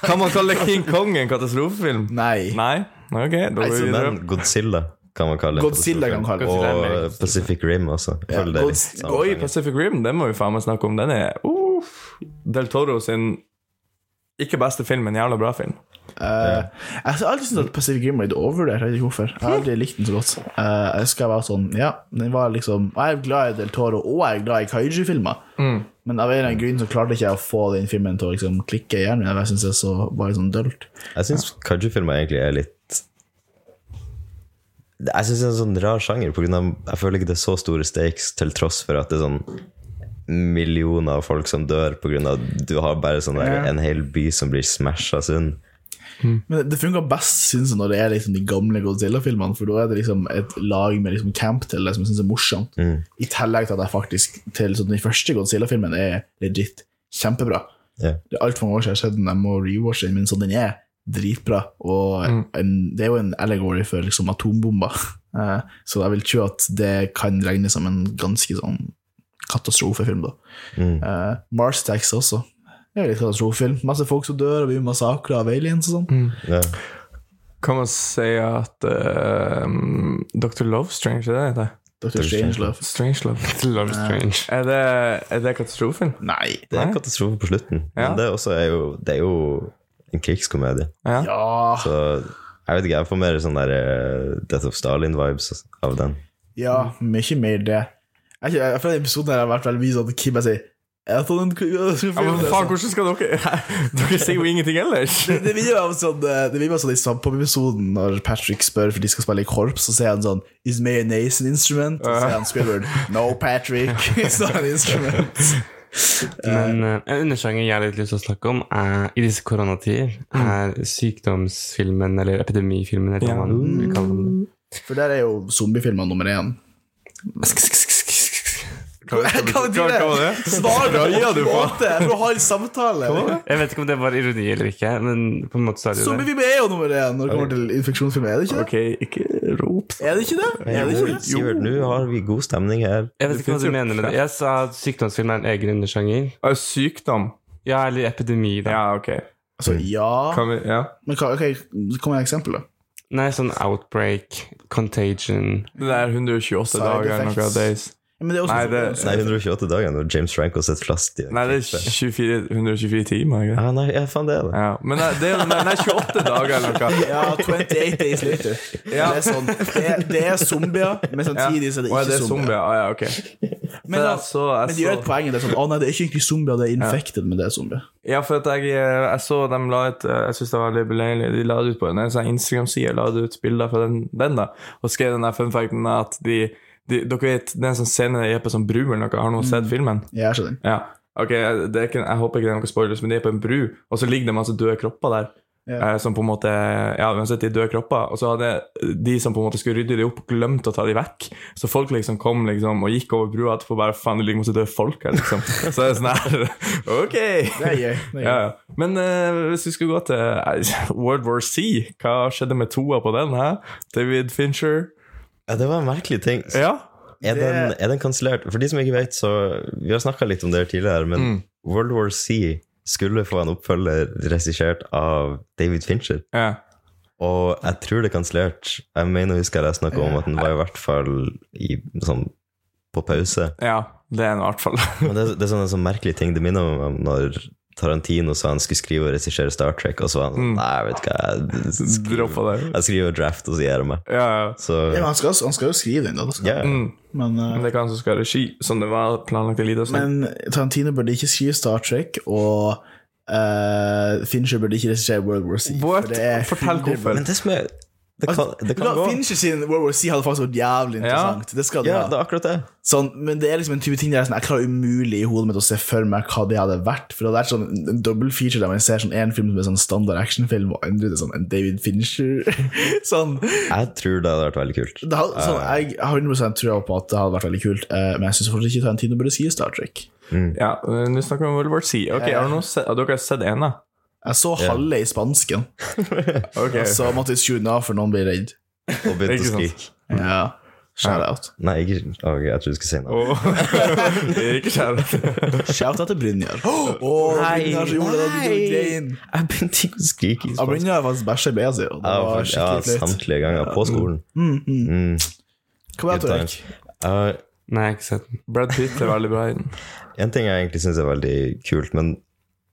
S1: Kan man kalle King Kong en katastrofefilm?
S2: Nei.
S1: Nei? Ok, da går vi videre.
S4: Altså, Men Godzilla kan man kalle den
S2: Godzilla kan man kalle
S4: katastrofen.
S3: den. Godzilla er mer
S4: Og Pacific Rim også. Følg det i
S2: Godz-
S4: samme
S1: Oi,
S4: sjanger.
S1: Pacific Rim, den må vi faen meg snakke om. Den er uff. Del Toro sin ikke beste film, men jævla bra film.
S2: Eh, jeg har alltid syntes at Pacific Rim er litt overvurdert. Jeg vet ikke hvorfor. Jeg har aldri likt den så godt. Eh, jeg husker jeg var sånn Ja, den var liksom Jeg er glad i Del Toro, og jeg er glad i kaiju-filmer. Men av en eller annen grunn så klarte ikke jeg å få den filmen til å liksom klikke i hjernen min. Jeg synes det er så bare sånn dølt.
S4: Jeg syns kaiju-filmer egentlig er litt Jeg syns det er en sånn rar sjanger, på grunn av jeg føler ikke det er så store stakes, til tross for at det er sånn millioner av folk som dør pga. du har bare sånn der, en hel by som blir smasha sund. Mm.
S2: Men det funker best synes jeg, når det er liksom de gamle Godzilla-filmene, for da er det liksom et lag med liksom camp til det som jeg synes er morsomt.
S4: Mm.
S2: I tillegg til at jeg faktisk til sånn, den første Godzilla-filmen er legit kjempebra.
S4: Ja.
S2: Det er altfor mange år siden jeg har sett den, jeg må rewatche den, men sånn den er dritbra. Og en, det er jo en allegory for liksom atombomber, Eh, så jeg vil tro at det kan regnes som en ganske sånn katastrofefilm, da.
S4: Mm.
S2: Eh, Mars Tax også. Det er litt katastrofefilm. Masse folk som dør, og blir massakre av aliens og sånn.
S4: Ja.
S1: Kan man si at eh, Dr. Love Strange, er det det heter?
S2: Dr. Strangelove.
S1: Strange Love.
S3: Love Strange.
S1: Er det, er det katastrofefilm?
S2: Nei.
S4: Det er
S1: Nei.
S4: en katastrofe på slutten,
S1: Ja.
S4: men det, er også er jo, det er jo en krigskomedie.
S1: Ja.
S2: Ja,
S4: Så jeg vet ikke, jeg får mer sånn der eh, Death of Stalin-vibes av den.
S2: ja mye mer det. Jeg, jeg, jeg føler i episoden her har vært veldig mye sånn at Kim bare sier «Jeg tar den k-
S1: Ja, men
S2: jeg skal filme det»,
S1: faen,
S2: så-
S1: hvordan skal dere Dere sier jo ingenting ellers!
S2: det blir jo bare sånn eh, Det blir bare sånn i Svampbob-episoden når Patrick spør for de skal spille i korps, så sier han sånn Is mayonnaise an instrument? Og så sier han Squidward No, Patrick, it's not an instrument.
S3: Men eh, en undersjanger jeg har litt lyst til å snakke om, er, i disse koronatider, er
S1: Mm.
S3: sykdomsfilmen, eller epidemifilmen, eller hva man vil kalle den.
S2: For der er jo zombiefilmer nummer én. Hva
S1: Hva- hva var det?
S2: Svar på
S1: Raja du
S2: en
S1: på?
S2: måte! For å ha en samtale.
S3: Jeg vet ikke om det var ironi eller ikke, men på en måte så er det jo det.
S2: Zombiefilmer er jo nummer én når det kommer til infeksjonsfilmer, er det ikke det?
S1: Ok, ikke rop.
S2: Er det ikke det? Er det ikke det?
S4: Sivert, nå har vi god stemning her.
S3: Jeg vet ikke hva
S1: Det finnes
S3: du
S1: jo-
S3: mener med det. Jeg sa at sykdomsfilm er en egen undersjanger.
S1: Ah, Sykdom.
S3: Ja, eller epidemi, da.
S1: Ja, ok.
S2: Altså, ja
S1: Kan vi, ja.
S2: Men hva, ok, kom med et eksempel, da.
S3: Nei, sånn Outbreak, Contagion
S1: Det der 128
S2: Side
S1: dager eller noe
S2: effects.
S1: av days.
S2: Ja, Men det er også sånn-
S1: Nei, det-
S4: Nei, 128 dager når James Franco sitter fast i en
S1: Nei, det er
S4: klippe.
S1: 24, 124 timer. Ikke? det?
S4: ah, Nei, ja, faen, det er det.
S1: Ja. Men nei, det er jo nei, nei, 28 dager eller noe.
S2: Ja, 28 days later.
S1: Ja.
S2: Det er sånn. Det er, det er zombier, men samtidig så er det
S1: Å, ja,
S2: ikke
S1: er
S2: zombier.
S1: zombier. Ah, ja, ok.
S2: Men,
S1: For
S2: da,
S1: jeg så,
S2: men de
S1: jeg
S2: gjør
S1: så,
S2: et poeng i det sånn Å nei, det er ikke egentlig zombier, det er infected, men det er zombier.
S1: ja, for at jeg, eh, jeg så dem la ut eh, Jeg synes det var litt beleilig. De la det ut på en sånn Instagram-side la det ut bilder fra den, den da og skrev den der fun facten at de, de Dere vet, det er en sånn scene der de er på sånn bru eller noe. Har noen
S2: Mm.
S1: sett filmen?
S2: Ja, jeg skjønner.
S1: Ja. Ok, det er ikke, Jeg håper ikke det er noe spoilers, men de er på en bru, og så ligger det masse døde kropper der.
S2: Ja.
S1: Eh, som på en måte Ja, uansett, de døde kropper. Og så hadde de som på en måte skulle rydde de opp, glemt å ta de vekk. Så folk liksom kom liksom og gikk over brua etterpå bare Faen, det ligger masse døde folk her, liksom. så det er sånn her Ok!
S2: Det er gøy. Det er gøy.
S1: Ja, ja. Men eh, hvis vi skulle gå til eh, World War C, hva skjedde med toa på den? Hæ? David Fincher?
S4: Ja, det var en merkelig ting.
S1: Ja?
S4: Er
S2: Det-
S4: den, er den kansellert? For de som ikke vet, så Vi har snakka litt om det her tidligere, men World War C skulle få en oppfølger regissert av David Fincher.
S1: ja.
S4: Og jeg tror det er kansellert. Jeg mener å huske at jeg snakka om at den var i hvert fall i, sånn, på pause.
S1: Ja, det er den i hvert fall.
S4: Men det, det er sånn en sånn merkelig ting. Det minner meg om når Tarantino sa han skulle skrive og regissere Star Trek, og så var han sånn Nei, vet du hva, jeg skriver,
S1: Droppa det.
S4: jeg skriver draft, og så gir jeg meg.
S1: Ja, ja.
S4: Så
S2: Ja, men han, skal, han skal jo skrive den, da. Det skal.
S4: ja.
S1: Mm.
S2: han. Men, eh,
S1: Men det er ikke han som skal ha regi, som det var planlagt en liten stund.
S2: men Tarantino burde ikke skrive Star Trek, og eh, Fincher burde ikke regissere World War C.
S1: What?
S2: for det er
S1: Fortell
S2: 100%
S1: hvorfor.
S4: Men det som er Det kan, det
S2: Vet du
S4: kan
S2: hva,
S4: gå.
S2: Fincher sin World War C hadde faktisk vært jævlig interessant. Det skal det
S4: Ja,
S2: ha.
S4: det er akkurat det.
S2: Sånn, men det er liksom en type ting der jeg er sånn, jeg klarer umulig i hodet mitt å se for meg hva det hadde vært. For det hadde vært sånn en- en double feature der man ser sånn en film som er sånn standard actionfilm, og andre til sånn en David Fincher. sånn, det
S4: Jeg tror det hadde vært veldig kult.
S2: hadde, sånn Jeg har 100 trua på at det hadde vært veldig kult, eh, men jeg syns fortsatt ikke Tarantino burde skrive Star Trek.
S1: Ja, eh, Nå snakker vi om World War C. Ok, har dere noen se- har dere sett en, da?
S2: Jeg så halve i spansken,
S1: Ok.
S2: så måtte jeg skru den av for noen ble redd.
S4: Og begynte
S1: Ikke
S4: å
S1: sant.
S4: skrike.
S2: Ja, Shout out.
S4: Nei, ikke, ok, jeg tror du skulle si noe.
S1: Åh, det er ikke kjærlighet.
S2: Shout out til Brynjar. Å, Brynjar som gjorde det! du grein.
S4: Jeg begynte ikke å skrike. i
S2: Ja,
S4: spansk.
S2: Brynjar faktisk bæsja i beia si, og det
S4: Jeg var
S2: var
S4: faktisk- Ja,
S2: skikkelig flaut.
S4: samtlige ganger på skolen. Mm,
S2: Hva med
S4: good
S2: deg, Torek?
S4: times. Uh,
S3: Nei, jeg har ikke sett den.
S1: Brad Pitt er veldig bra i den.
S4: en ting jeg egentlig syns er veldig kult, men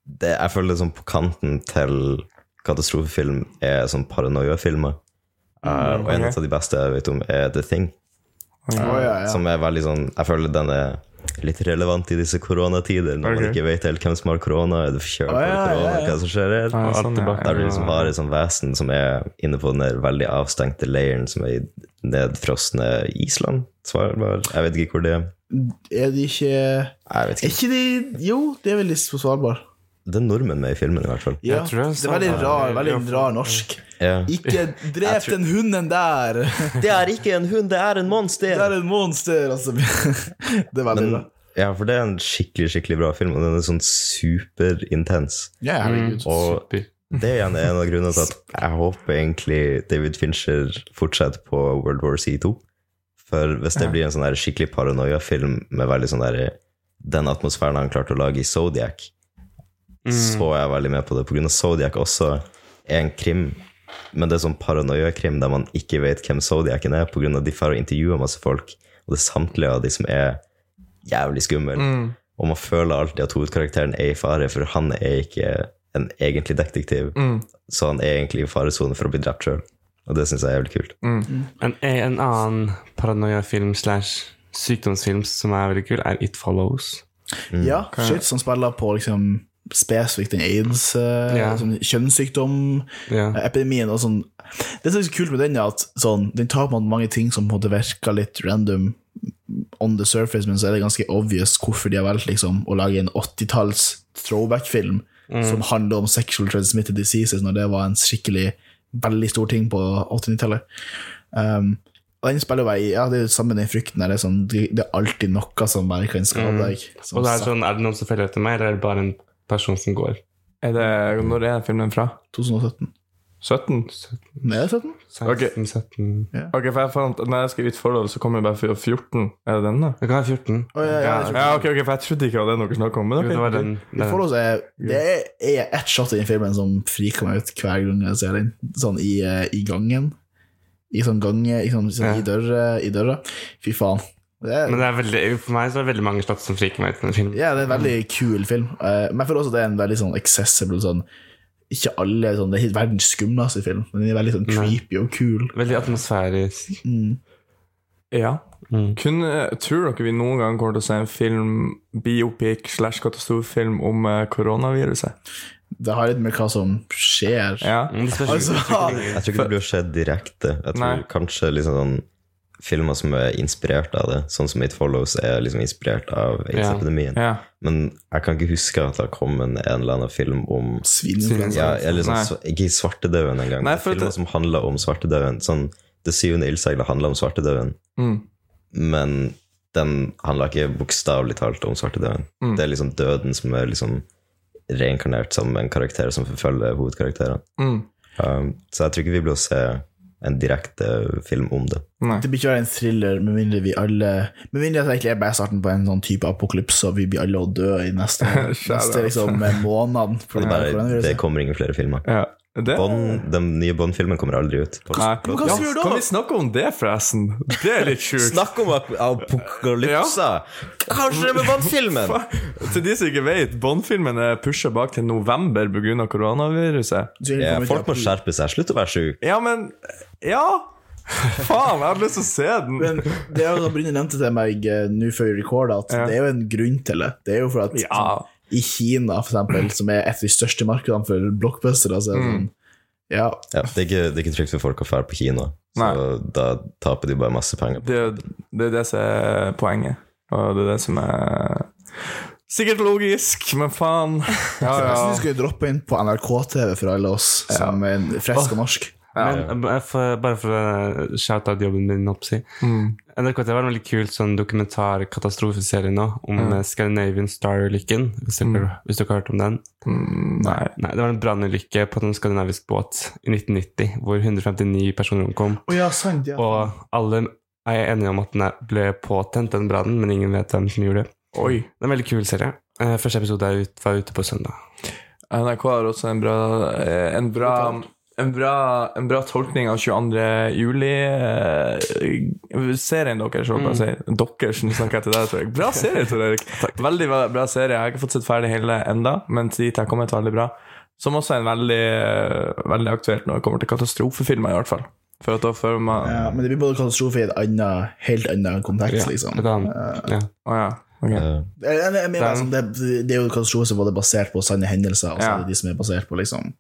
S4: det, jeg føler det sånn på kanten til katastrofefilm er sånn paranoiafilmer. Uh, og en
S1: ok.
S4: av de beste jeg vet om, er The Thing.
S2: Å, ja, ja.
S4: Som er veldig sånn Jeg føler den er litt relevant i disse koronatider. Når
S1: Ok.
S4: man ikke vet helt hvem som har korona, er du forkjølt,
S2: Å,
S4: har du
S2: ja,
S4: korona,
S2: ja, ja.
S4: hva som skjer her?
S1: Ja,
S3: alt
S1: sånn,
S3: tilbake.
S1: ja.
S4: Der du liksom har et sånt vesen som er inne på den der veldig avstengte leiren som er i nedfrosne Island? Svalbard? Jeg vet ikke hvor det er.
S2: Er de ikke Er
S4: Jeg vet ikke.
S2: ikke de Jo, de er vel litt på Svalbard.
S4: Det er nordmenn med i filmen, i hvert fall.
S2: Ja,
S3: Jeg tror jeg
S2: det
S3: sa
S2: er veldig
S3: det.
S2: rar,
S3: Ja,
S2: veldig
S3: for-
S2: rar norsk.
S4: Ja.
S2: Ikke drep den hunden der!
S4: Det er ikke en hund, det er en
S2: Det
S4: monster!
S2: er en monster! Altså. Det er veldig bra.
S4: Ja, for det er en skikkelig, skikkelig bra film, og den er sånn superintens.
S2: Ja, herregud.
S3: Mm.
S4: Og
S3: Super.
S4: Det igjen er en av grunnene til at jeg håper egentlig David Fincher fortsetter på World War C2. For hvis det blir en sånn der skikkelig paranoia-film med veldig sånn der, den atmosfæren han klarte å lage i Zodiac, så er jeg veldig med på det. På grunn av Zodiac også er en krim, men det er sånn paranoia-krim der man ikke vet hvem Zodiacen er, på grunn av de får å intervjue masse folk, og det er samtlige av de som er jævlig skummel.
S2: Mm,
S4: Og man føler alltid at hovedkarakteren er i fare, for han er ikke en egentlig detektiv.
S1: Mm.
S4: Så han er egentlig i faresone for å bli drept sjøl. Og det syns jeg er jævlig kult.
S2: mm.
S3: En, eh, en annen paranoia-film slash sykdomsfilm som er veldig kul, er It Follows.
S2: Ja, shit, som spiller på liksom spesifikt den aids, eh,
S3: Ja.
S2: sånn kjønnssykdom
S3: Ja.
S2: epidemien og sånn Det som er så kult med den, er at sånn, den tar på en måte mange ting som på en måte virker litt random on the surface, men så er det ganske obvious hvorfor de har valgt liksom, å lage en 80-talls throwback-film
S3: Mm.
S2: som handler om sexual transmitted diseases, når det var en skikkelig veldig stor ting på 80-90-tallet. Um, og den spiller jo bare i- ja, det er jo sammen med den frykten der, det er, sånn, det det er alltid noe som bare kan skade deg. som
S3: Mm. Og det er
S2: sagt,
S3: sånn, er det noen som følger etter meg, eller er det bare en person som går?
S1: Er det, når er filmen fra?
S2: 2017.
S1: 17?
S3: 17,
S2: Er det 17?
S3: 16, 17
S1: Ok, for jeg fant Når jeg skrev It Follows, så kom jeg bare for 14. Er det den, da?
S3: Det kan være 14.
S2: Å, ja, ja, jeg tror-
S1: Ja, ok, ok, for jeg trodde ikke det var den dere snakket om. Men
S3: Jo, det
S1: ok.
S3: var den.
S2: Vi får
S3: den.
S2: oss, eh, det er, er ett shot i den filmen som friker meg ut hver gang jeg ser den. Sånn i, eh, i gangen. I sånn gange, i, sånn, sånn,
S3: Ja.
S2: i, døra, i døra. Fy faen. Det er,
S3: Men det er veldig, for meg så er det veldig mange slott som friker meg ut i den filmen.
S2: ja, det er en veldig kul film. Eh, men jeg føler også at det er en veldig sånn accessible sånn Ikke alle sånn, Det er verdens skumleste film, men den er veldig sånn creepy og kul.
S3: Veldig atmosfærisk.
S2: Mm.
S1: Ja.
S3: Mm.
S1: Kunne, eh, tror dere vi noen gang kommer til å se en film, biopic slash katastrofefilm om eh, koronaviruset?
S2: Det har litt med hva som skjer.
S1: Ja.
S3: Mm, det spørs-
S2: Altså,
S4: Jeg tror ikke det blir skjedd direkte. Jeg tror
S1: Nei.
S4: kanskje liksom sånn filmer som er inspirert av det, sånn som It Follows, er liksom inspirert av aids-epidemien.
S1: ja.
S4: Men jeg kan ikke huske at det har kommet en eller annen film om
S2: Svineinfluensa.
S4: ja, eller sånn,
S1: Nei.
S4: sv- Ikke svartedauden engang,
S1: Nei,
S4: men
S1: for at
S4: filmer
S1: det-
S4: som handler om svartedauden. Sånn, det syvende ildseglet handler om svartedauden,
S1: Mm.
S4: men den handler ikke bokstavelig talt om svartedauden.
S1: Mm.
S4: Det er liksom døden som er liksom reinkarnert som en karakter som forfølger hovedkarakteren.
S1: Mm.
S4: Um, så jeg tror ikke vi blir å se en direkte film om det.
S1: Nei.
S2: Det blir ikke være en thriller, med mindre vi alle Med mindre at det egentlig er bare starten på en sånn type apokalypse, og vi blir alle å dø i neste,
S1: Shout
S2: neste
S1: out.
S2: liksom, måned. For det, er
S4: Det, bare, det
S2: koronaviruset.
S4: kommer ingen flere filmer.
S1: Ja. Det
S4: Bond, den nye Bond-filmen kommer aldri ut.
S1: Nei.
S2: Men hva
S1: Ja,
S2: skal vi gjøre da?
S1: Kan vi snakke om det, forresten? Det er litt sjukt.
S4: Snakk om ap- apokalypse! Kanskje med Bond-filmen!
S1: Til de som ikke vet, Bond-filmen er pusha bak til november pga. koronaviruset.
S2: Så vi
S4: Ja,
S2: kommer til
S4: folk må
S2: april.
S4: skjerpe seg. Slutt å være sjuk.
S1: Ja, men Ja! Faen, jeg hadde lyst til å se den.
S2: Men det er jo som Brynne nevnte til meg eh, nå før vi recorda, at det er jo en grunn til det. Det er jo for at
S1: Ja.
S2: i Kina, for eksempel, som er et av de største markedene for blockbustere, så er det sånn Ja,
S4: Ja, det, er ikke, det er ikke trygt for folk å dra på kino, så da taper de bare masse penger.
S1: Det, det er det som er poenget. Og det er det som er Sikkert logisk, men faen. Ja,
S2: jeg
S1: ja.
S2: syns vi skal droppe inn på NRK-TV for alle oss som er friske og norsk.
S3: Men eh, for, bare for å shoute out jobben min, holdt jeg på å si.
S2: Mm.
S3: NRK TV har en veldig kul sånn dokumentar-katastrofeserie nå om
S2: Mm.
S3: eh, Scandinavian Star-ulykken. Hvis, dere- hvis dere har hørt om den.
S1: Mm, Nei.
S3: Nei, Det var en brannulykke på en skandinavisk båt i 1990 hvor 159 personer omkom.
S2: Å ja, sant, ja.
S3: Og alle er enige om at den er- ble påtent, den brannen, men ingen vet hvem som gjorde det.
S1: Oi.
S3: Det er en veldig kul serie. Eh, Første episode er ut, var ute på søndag.
S1: NRK har også en bra eh, En bra en bra, en bra tolkning av Eh, 22. juli-serien deres, håper jeg å si. Deres, nå snakker jeg til deg, Tor Erik. Bra serie, Tor Erik. Veldig bra- bra serie. Jeg har ikke fått sett ferdig hele enda, men til dit jeg har kommet, veldig bra. Som også er en veldig, eh, veldig aktuelt når det kommer til katastrofefilmer, i hvert fall. For at da føler man
S2: Ja, men det blir både katastrofe i et annet, helt annet kontekst, liksom.
S3: Et annet. Ja.
S1: Å ja. ok.
S4: Eh,
S2: Jeg- jeg- jeg mener, altså, det, det er jo katastrofe som både er basert på sanne hendelser, og så
S1: Ja.
S2: er det de som er basert på, liksom.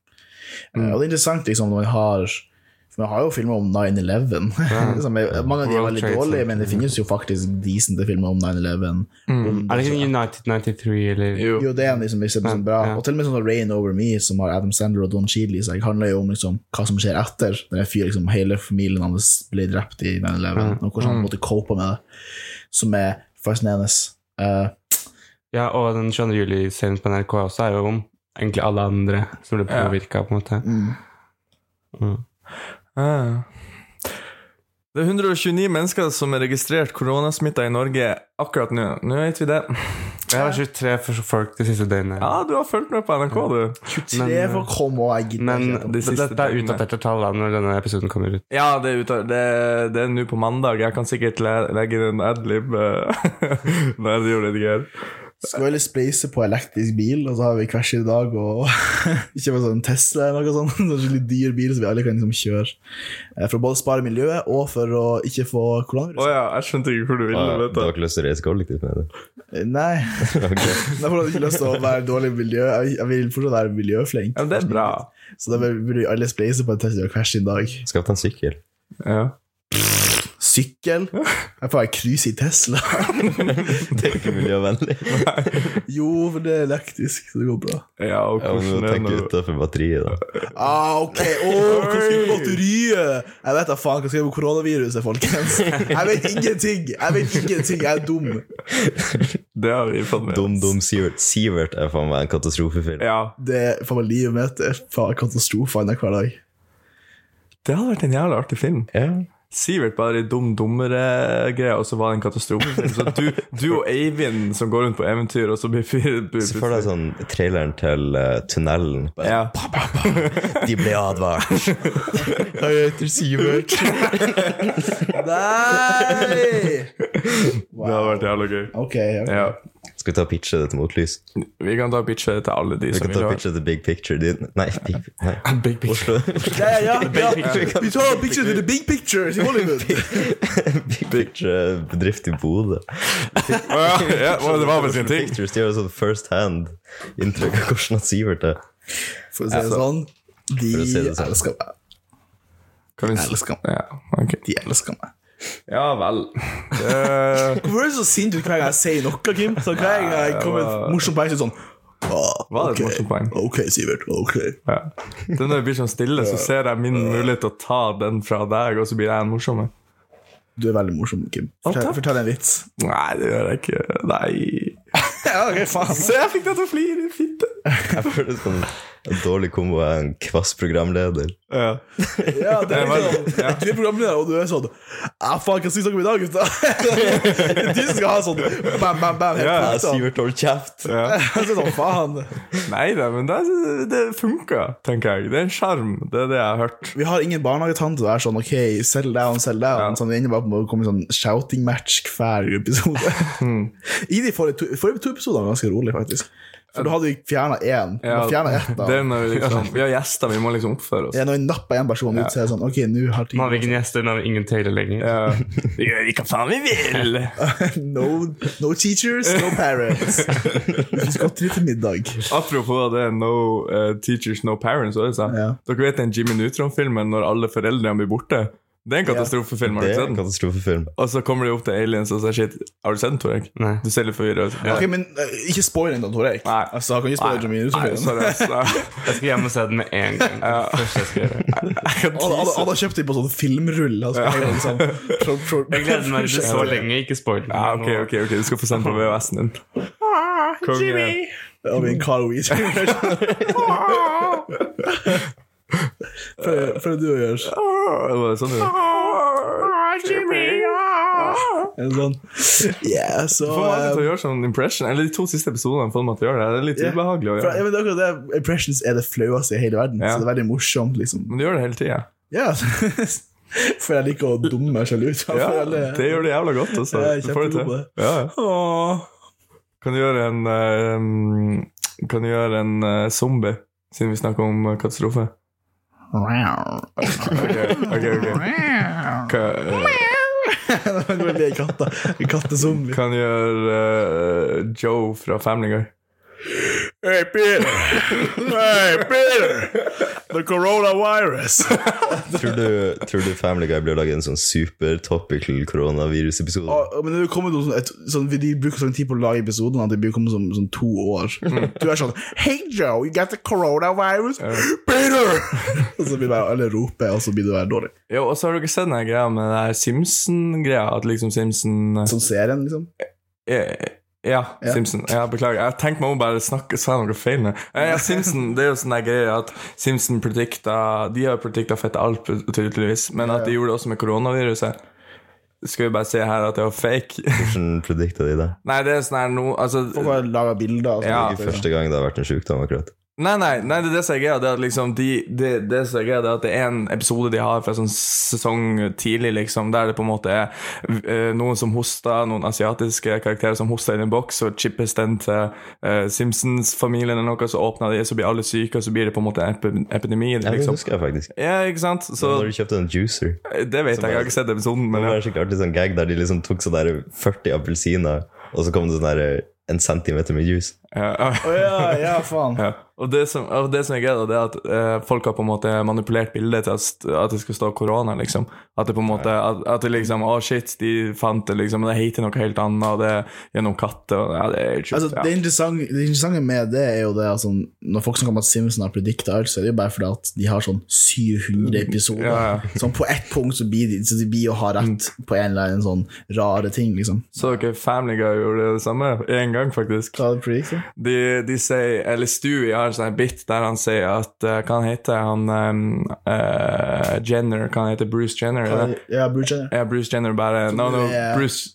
S3: Mm.
S2: Eh, Og det er interessant, liksom, når man har for man har jo filmer om 9-11. som er- mange av de er
S3: World
S2: veldig
S3: Trade
S2: dårlige,
S3: Center. Mm.
S2: men det finnes jo faktisk decente filmer om 9-11. Om-
S3: Er det ikke United 93, eller
S1: Mm. Jo.
S2: Jo, det er en liksom, hvis det blir sånn bra.
S3: Ja.
S2: Og til og med sånn som Rain Over Me, som har Adam Sandler og Don Cheadley, så det handler jo om liksom, hva som skjer etter. Når en fyr, liksom, hele familien hans ble drept i
S3: Mm.
S2: 9-11, og hvordan han måtte cope med det, som er fascinerende. Eh,
S3: Ja, og den 22. juli-serien på NRK også er jo om egentlig alle andre som ble
S1: Ja.
S3: påvirka, på en måte.
S2: mm.
S1: Ah. Det er 129 mennesker som er registrert koronasmitta i Norge akkurat nå. Nå vet vi det.
S3: Jeg har 23 for folk det siste døgnet.
S1: Ja, du har fulgt med på NRK, du.
S3: Men,
S2: Tre for kom og jeg gidder
S3: men
S2: ikke.
S1: de siste
S3: dette er
S1: døgnet.
S3: utdaterte tall da, når denne episoden kommer ut.
S1: Ja, det er ute- det- det er nå på mandag. Jeg kan sikkert le legge inn en adlib. eh, Nei, det gjorde jeg ikke. her.
S2: Skal vi heller spleise på elektrisk bil, og så har vi hver sin dag og ikke bare sånn Tesla eller noe sånt, sånn skikkelig dyr bil som vi alle kan liksom kjøre. Eh, For å både spare miljøet og for å ikke få
S1: Å
S2: koronavirus.
S1: ja, jeg skjønte ikke hvor du
S4: ah,
S1: ville. vet
S4: du
S1: du.
S4: har ikke lyst til å reise kollektivt med det?
S2: Eh, Nei,
S4: Ok.
S2: da får du ikke lyst til å være dårlig miljø. Jeg- Jeg vil fortsatt være miljøflink.
S1: Ja, men det er bra.
S2: Så da bør- burde vi alle spleise på en Tesla hver sin dag.
S4: Skaff deg en sykkel.
S1: Ja.
S2: Sykkel? Jeg får være cruise i Tesla.
S4: Det er ikke miljøvennlig.
S2: Jo, for det er elektrisk, så det går bra.
S1: Ja, og
S4: Ja, men du
S1: hvordan
S4: må
S1: er
S4: tenke
S1: det nå?
S4: utenfor batteriet, da.
S2: Ah, ok, åh, hva skal vi med batteriet? Jeg vet da faen hva skal vi med koronaviruset, folkens. Jeg vet ingenting, jeg vet ingenting, jeg er dum.
S1: Det har vi fått med.
S4: Dum Dum Sivert. Sivert er faen meg en katastrofefilm.
S1: Ja.
S2: Det er faen meg livet mitt, det er faen katastrofer enn hver dag.
S1: Det hadde vært en jævla artig film.
S4: Ja.
S1: Sivert bare i dum dummere-greia, og så var det en katastrofefilm. Så du, du og Eivind som går rundt på eventyr, og så blir fyret
S4: Så får du sånn traileren til eh, tunnelen. Bare,
S1: ja.
S4: De ble advart.
S2: Jeg heter Sivert. Nei!
S1: Det hadde vært jævla gøy.
S2: Ok, ok.
S1: Ja.
S4: Skal vi ta og pitche det til Motlys?
S1: Vi kan ta pitche til alle de
S4: Vi
S1: som
S4: kan
S1: vil
S4: ta og
S1: ha
S4: pitche til Big Picture. De, nei, big, nei.
S3: Big Picture.
S4: Oslo.
S2: Ja, ja, ja.
S4: picture.
S2: Vi tar picture to the big picture til Hollywood.
S4: big Picture bedrift i Bodø.
S1: Å ja, ja, å, det var vel sin
S4: Oslo
S1: ting.
S4: Pictures de har jo sånn first hand inntrykk av hvordan han Sivert er.
S2: For å si det sånn, de
S4: Altså, For å si det sånn.
S2: elsker meg.
S1: Kan vi s-
S2: Elsker meg.
S1: Ja, ok.
S2: De elsker meg.
S1: ja vel. Det
S2: Hvorfor er du så sint ut hver gang jeg sier noe, Kim? Så hver gang jeg kommer med et morsomt poeng, så er det sånn ah,
S1: var et
S2: ok.
S1: morsomt poeng.
S2: Ok, Sivert. Ok.
S1: Ja. Det er når det blir sånn stille, så ser jeg min mulighet til å ta den fra deg, og så blir jeg en morsom en.
S2: Du er veldig morsom, Kim. Fortell,
S1: takk.
S2: fortell en vits.
S1: Nei, det gjør jeg ikke. Nei.
S2: Ja, ok, faen.
S1: Se, jeg fikk deg til å flire, din fitte.
S4: Jeg føler det som en dårlig kombo av en kvass programleder.
S1: Ja.
S2: Ja, det er
S1: Det er
S2: liksom,
S1: veldig- ja.
S2: Du er programleder, og du er sånn ah, Faen, hva syns dere om i dag, gutta? Det er Du som skal ha sånn bam, bam, bam. Helt
S1: Ja,
S2: ja,
S4: Jeg Sivert holder kjeft!
S1: Ja.
S2: Så sånn, faen.
S1: Nei da, men det, det funka, tenker jeg. Det er en sjarm. Det er det jeg har hørt.
S2: Vi har ingen barnehagetante der sånn OK, settle down, settle down.
S1: Ja.
S2: Sånn, vi ender bare på å komme i sånn shouting match hver episode. Hmm. I de forrige to, forrige to episodene var ganske rolig, faktisk. For da hadde vi fjerna én. Ja, fjerna ett, da.
S1: det er når vi, liksom, vi har gjester, vi må liksom oppføre oss.
S2: Ja, når vi nappa én person ut, så er det sånn OK, nå har
S3: Nå har vi
S2: tiden
S3: ingen gjester, nå har vi ingen trailer lenger.
S1: Ja. Vi gjør hva faen vi vil!
S2: no, no teachers, no parents. Vi skal til til middag.
S1: Apropos det, no eh, teachers, no parents. Også, sa jeg.
S2: Ja.
S1: Dere vet den Jimmy Neutron-filmen når alle foreldrene blir borte? Det er en katastrofefilm.
S4: Det
S1: har du
S4: er
S1: sett
S4: en
S1: den?
S4: katastrofefilm.
S1: Og så kommer de opp til aliens og sier shit. Har du sett den, Torek?
S3: Nei.
S1: Du ser litt forvirra ut.
S2: Ok, men eh, ikke spoil den, da, Tor Erik.
S1: Nei.
S2: Altså, han kan ikke spoil
S1: Nei,
S2: Jamie Newton-filmen.
S1: sorry, ass.
S3: Jeg skal hjem og se den med en gang. Første jeg skal gjøre.
S1: Jeg kan
S2: Han han-
S1: tease.
S2: han har kjøpt den på sånn filmrull. Altså, ja. liksom, pro, pro,
S3: Jeg gleder meg til så lenge, ikke spoil den.
S1: Ja, ok, ok, ok, du skal få sendt på VHS-en din. Konge.
S2: Av en Carl Weed. Prøv du å gjøre
S1: Ah, det var sånn det var.
S2: en sånn. Yeah, så
S1: Få meg til å
S2: eh,
S1: gjøre sånn impression. Eller de to siste episodene får meg til å gjøre det. Det er litt
S2: Ja.
S1: ubehagelig å
S2: for,
S1: gjøre.
S2: jeg vet akkurat det, Impressions er det flaueste i hele verden,
S1: Ja.
S2: så det er veldig morsomt. liksom
S1: Men du gjør det hele tida.
S2: Ja, For jeg liker å dumme meg selv ut.
S1: Ja,
S2: for alle-
S1: det gjør det jævla godt. Også.
S2: Jeg er
S1: Du får det til.
S2: kjempegod på
S1: Ja. ja.
S2: Åh.
S1: Kan du gjøre en eh, Kan du gjøre en eh, zombie, siden vi snakker om eh, katastrofe? Ok, ok, ok Kan, eh,
S2: Nå går det en katta. En kattezombie.
S1: kan du gjøre eh, Joe fra Family Guy?
S2: Hey, Peter! Hey, Peter! The coronavirus!
S4: Tror du, tror du Family Guy blir å lage en sånn super topical koronavirusepisode?
S2: Ah, men det kommer noe sånn, et, sånn, De bruker sånn tid på å lage episoden at de bruker komme sånn, sånn to år.
S1: Mm.
S2: Du er sånn Hey Joe, you got the coronavirus? Peter! og så blir det bare alle roper, og så blir det bare dårlig.
S1: Jo, og så har dere sett den her greia med den her Simpson-greia. At liksom Simpson
S2: Sånn serien, liksom.
S1: Eh, Ja,
S2: Ja.
S1: Simpson. Ja, beklager. Jeg tenkte meg om bare snakke, sa noe feil nå. Eh, Ja, Simpson, det er jo sånn der greie at Simpson predikta De har jo predikta fett alt, tydeligvis, men at de gjorde det også med koronaviruset. Skal vi bare se her at det var fake?
S4: Hvordan predikta de det?
S1: Nei, det er sånn her nå
S2: Folk
S1: Altså
S2: har laga bilder. Og
S1: Ja.
S2: sånn.
S4: Ikke første gang det har vært en sjukdom, akkurat.
S1: Nei, nei, nei det er det som er greia. Det er at liksom de, det, det som er greia, det er at det er en episode de har fra sånn sesong tidlig, liksom, der det på en måte er eh, noen som hoster, noen asiatiske karakterer som hoster i en boks, og chippes den til eh, Simpsons-familien eller noe, så åpner de, så blir alle syke, og så blir det på en måte en epi- epidemi.
S4: Ja, det
S1: Liksom.
S4: husker jeg faktisk.
S1: Ja, ikke sant? Så
S4: Når du kjøpte en juicer.
S1: det vet jeg, jeg har ikke sett episoden,
S4: Det
S1: men ja.
S4: var en skikkelig artig sånn gag der de liksom tok sånn der 40 appelsiner, og så kom det sånn der en centimeter med juice.
S1: ja.
S2: Å ja, ja, faen.
S1: Ja. Og, det som, og det som er greia, da, det er at eh, folk har på en måte manipulert bildet til at, st- at det skal stå korona, liksom. At det på en måte At, at det liksom Å, shit, de fant det, liksom. Men det heter noe helt annet, og det er gjennom katter og Ja, det er helt sjukt.
S2: Altså, det,
S1: ja.
S2: interessante, det interessante med det er jo det altså, Når folk snakker om at Simpson har predikta alt, så er det jo bare fordi at de har sånn 700 episoder.
S1: Ja, ja. Mm.
S2: Sånn på ett punkt så blir de, så de blir å ha rett på en eller annen sånn rare ting, liksom.
S1: Så dere Family Guy gjorde det samme? Én gang, faktisk.
S2: Hva er det predikta? heter?
S1: De, de sier, eller Stewie har en sånn bit der han sier at eh, Hva han heter han? ehm, eh, Jenner? Hva han heter Bruce Jenner?
S2: Hva,
S1: er det?
S2: ja, Bruce Jenner.
S1: Ja, Bruce Jenner bare No, no,
S2: det er-
S1: Bruce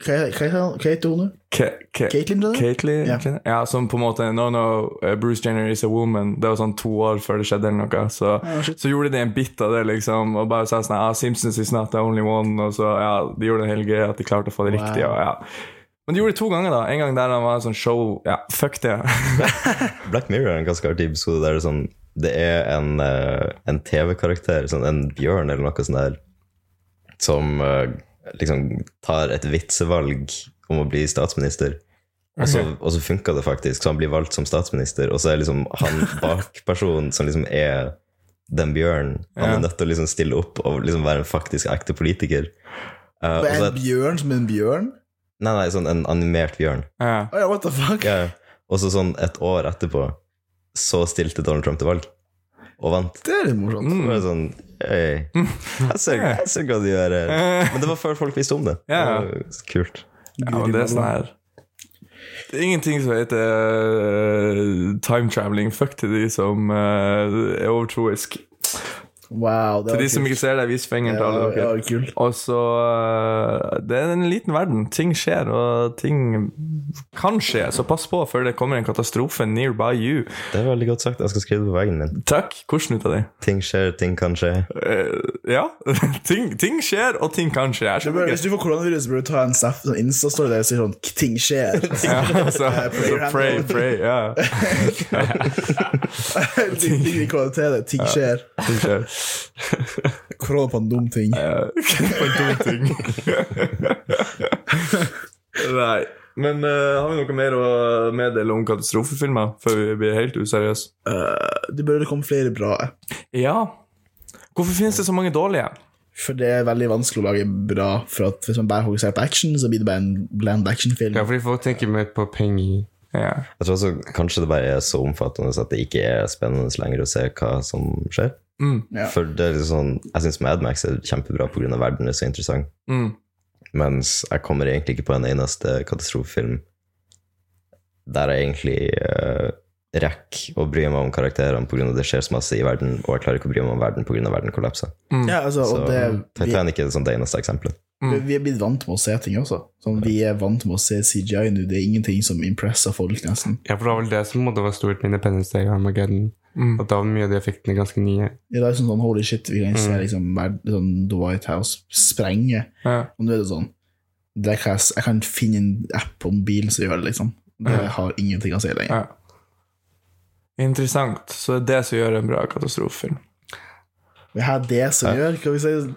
S2: Hva heter han? Hva heter hun nå?
S1: Ke- Ke-
S2: Caitlyn, tror jeg?
S1: Caitlyn?
S2: Ja.
S1: Caitlyn? Ja, som på en måte No, no, eh, Bruce Jenner is a woman. Det var sånn to år før det skjedde, eller noe. Så,
S2: Ja, shit.
S1: så gjorde de en bit av det, liksom, og bare sa sånn ah, 'Simpsons is not the only one', og så ja, de gjorde en hel greie at de klarte å få det
S2: Wow.
S1: riktig, og ja. Men de gjorde det to ganger, da. En gang der han var sånn show Ja, fuck det.
S4: Black Mirror er en ganske artig episode der det er sånn Det er en, eh, en TV-karakter, sånn en bjørn eller noe sånt der, som eh, liksom tar et vitsevalg om å bli statsminister. Og så, og så funka det faktisk, så han blir valgt som statsminister. Og så er liksom han bakpersonen som liksom er den bjørnen. Han
S1: Ja.
S4: er nødt til å liksom stille opp og liksom være en faktisk ekte politiker. Eh, og
S2: Hva er
S4: så,
S1: altså-
S2: en bjørn som en bjørn?
S4: nei, nei, sånn en animert bjørn.
S1: Ja.
S2: Å ja, what the fuck?
S4: Ja, ja. Og så sånn et år etterpå så stilte Donald Trump til valg, og vant.
S2: Det er litt morsomt.
S1: Mm.
S4: Så var det sånn Hei, jeg ser, jeg ser hva de gjør her. Men det var før folk visste om det. Det
S1: Ja.
S4: var Kult.
S1: Ja, og det er sånn her Det er ingenting som heter eh, time traveling. Fuck til de som eh, er overtroisk.
S2: Wow, det
S1: Til
S2: var
S1: de som
S2: kult.
S1: ikke ser det, vis fingeren til alle
S2: Ja,
S1: dere.
S2: ja, kult.
S1: Og så øh, Det er en liten verden. Ting skjer, og ting kan skje. Så pass på før det kommer en katastrofe nearby you.
S4: Det er veldig godt sagt. Jeg skal skrive det på veggen min.
S1: Takk. Hvordan ut av det?
S4: Ting skjer, ting kan skje.
S1: Eh, ja. ting, ting skjer, og ting kan skje. Jeg
S2: Du bør,
S1: skjønner
S2: hvis
S1: ikke.
S2: du får koronavirus, bør du ta en snap sånn Insta-story der og si sånn Ting skjer.
S1: Ja, så, så Altså, pray, pray. Ja,
S2: ting, ting, i kvalitet, ting skjer.
S1: ting skjer.
S2: Korona på en dum ting.
S1: Ja, På en dum ting. Nei. Men øh, har vi noe mer å meddele om katastrofefilmer før vi blir helt useriøse?
S2: Eh, det burde komme flere bra.
S1: Ja. Hvorfor finnes det så mange dårlige?
S2: For det er veldig vanskelig å lage bra. For at Hvis man bare fokuserer på action, så blir det bare en bland actionfilm.
S3: Ja, fordi folk tenker mer på penger.
S1: Ja.
S4: Jeg tror også kanskje det bare er så omfattende at det ikke er spennende lenger å se hva som skjer.
S1: Mm.
S2: Ja.
S4: For det er liksom sånn, Jeg syns Madmax er kjempebra pga. verden er så interessant.
S1: Mm.
S4: Mens jeg kommer egentlig ikke på en eneste katastrofefilm der jeg egentlig eh, rekker å bry meg om karakterene pga. det skjer så masse i verden, og jeg klarer ikke å bry meg om verden pga. verden kollapser.
S1: mm,
S2: Ja, altså,
S4: Så
S2: og det, vi,
S4: Titanic er sånn det eneste eksempelet.
S2: vi- vi er blitt vant med å se ting også. Sånn, vi er vant med å se CGI nå. Det er ingenting som impresser folk, nesten.
S3: Ja, for det var vel det som måtte være stort med Independence Day og Armageddon.
S1: Mm.
S3: At da var mye av de effektene ganske nye.
S2: I dag er det sånn, sånn holy shit, vi kan ikke se liksom, verd- sånn, The White House sprenge.
S1: Ja.
S2: Og nå er det sånn det kan jeg, s- jeg kan finne en app på mobilen som gjør det, liksom. Det har ingenting å si lenger.
S1: Ja. Interessant. Så det er det som gjør en bra katastrofefilm.
S2: Det her er det som gjør Hva vi sier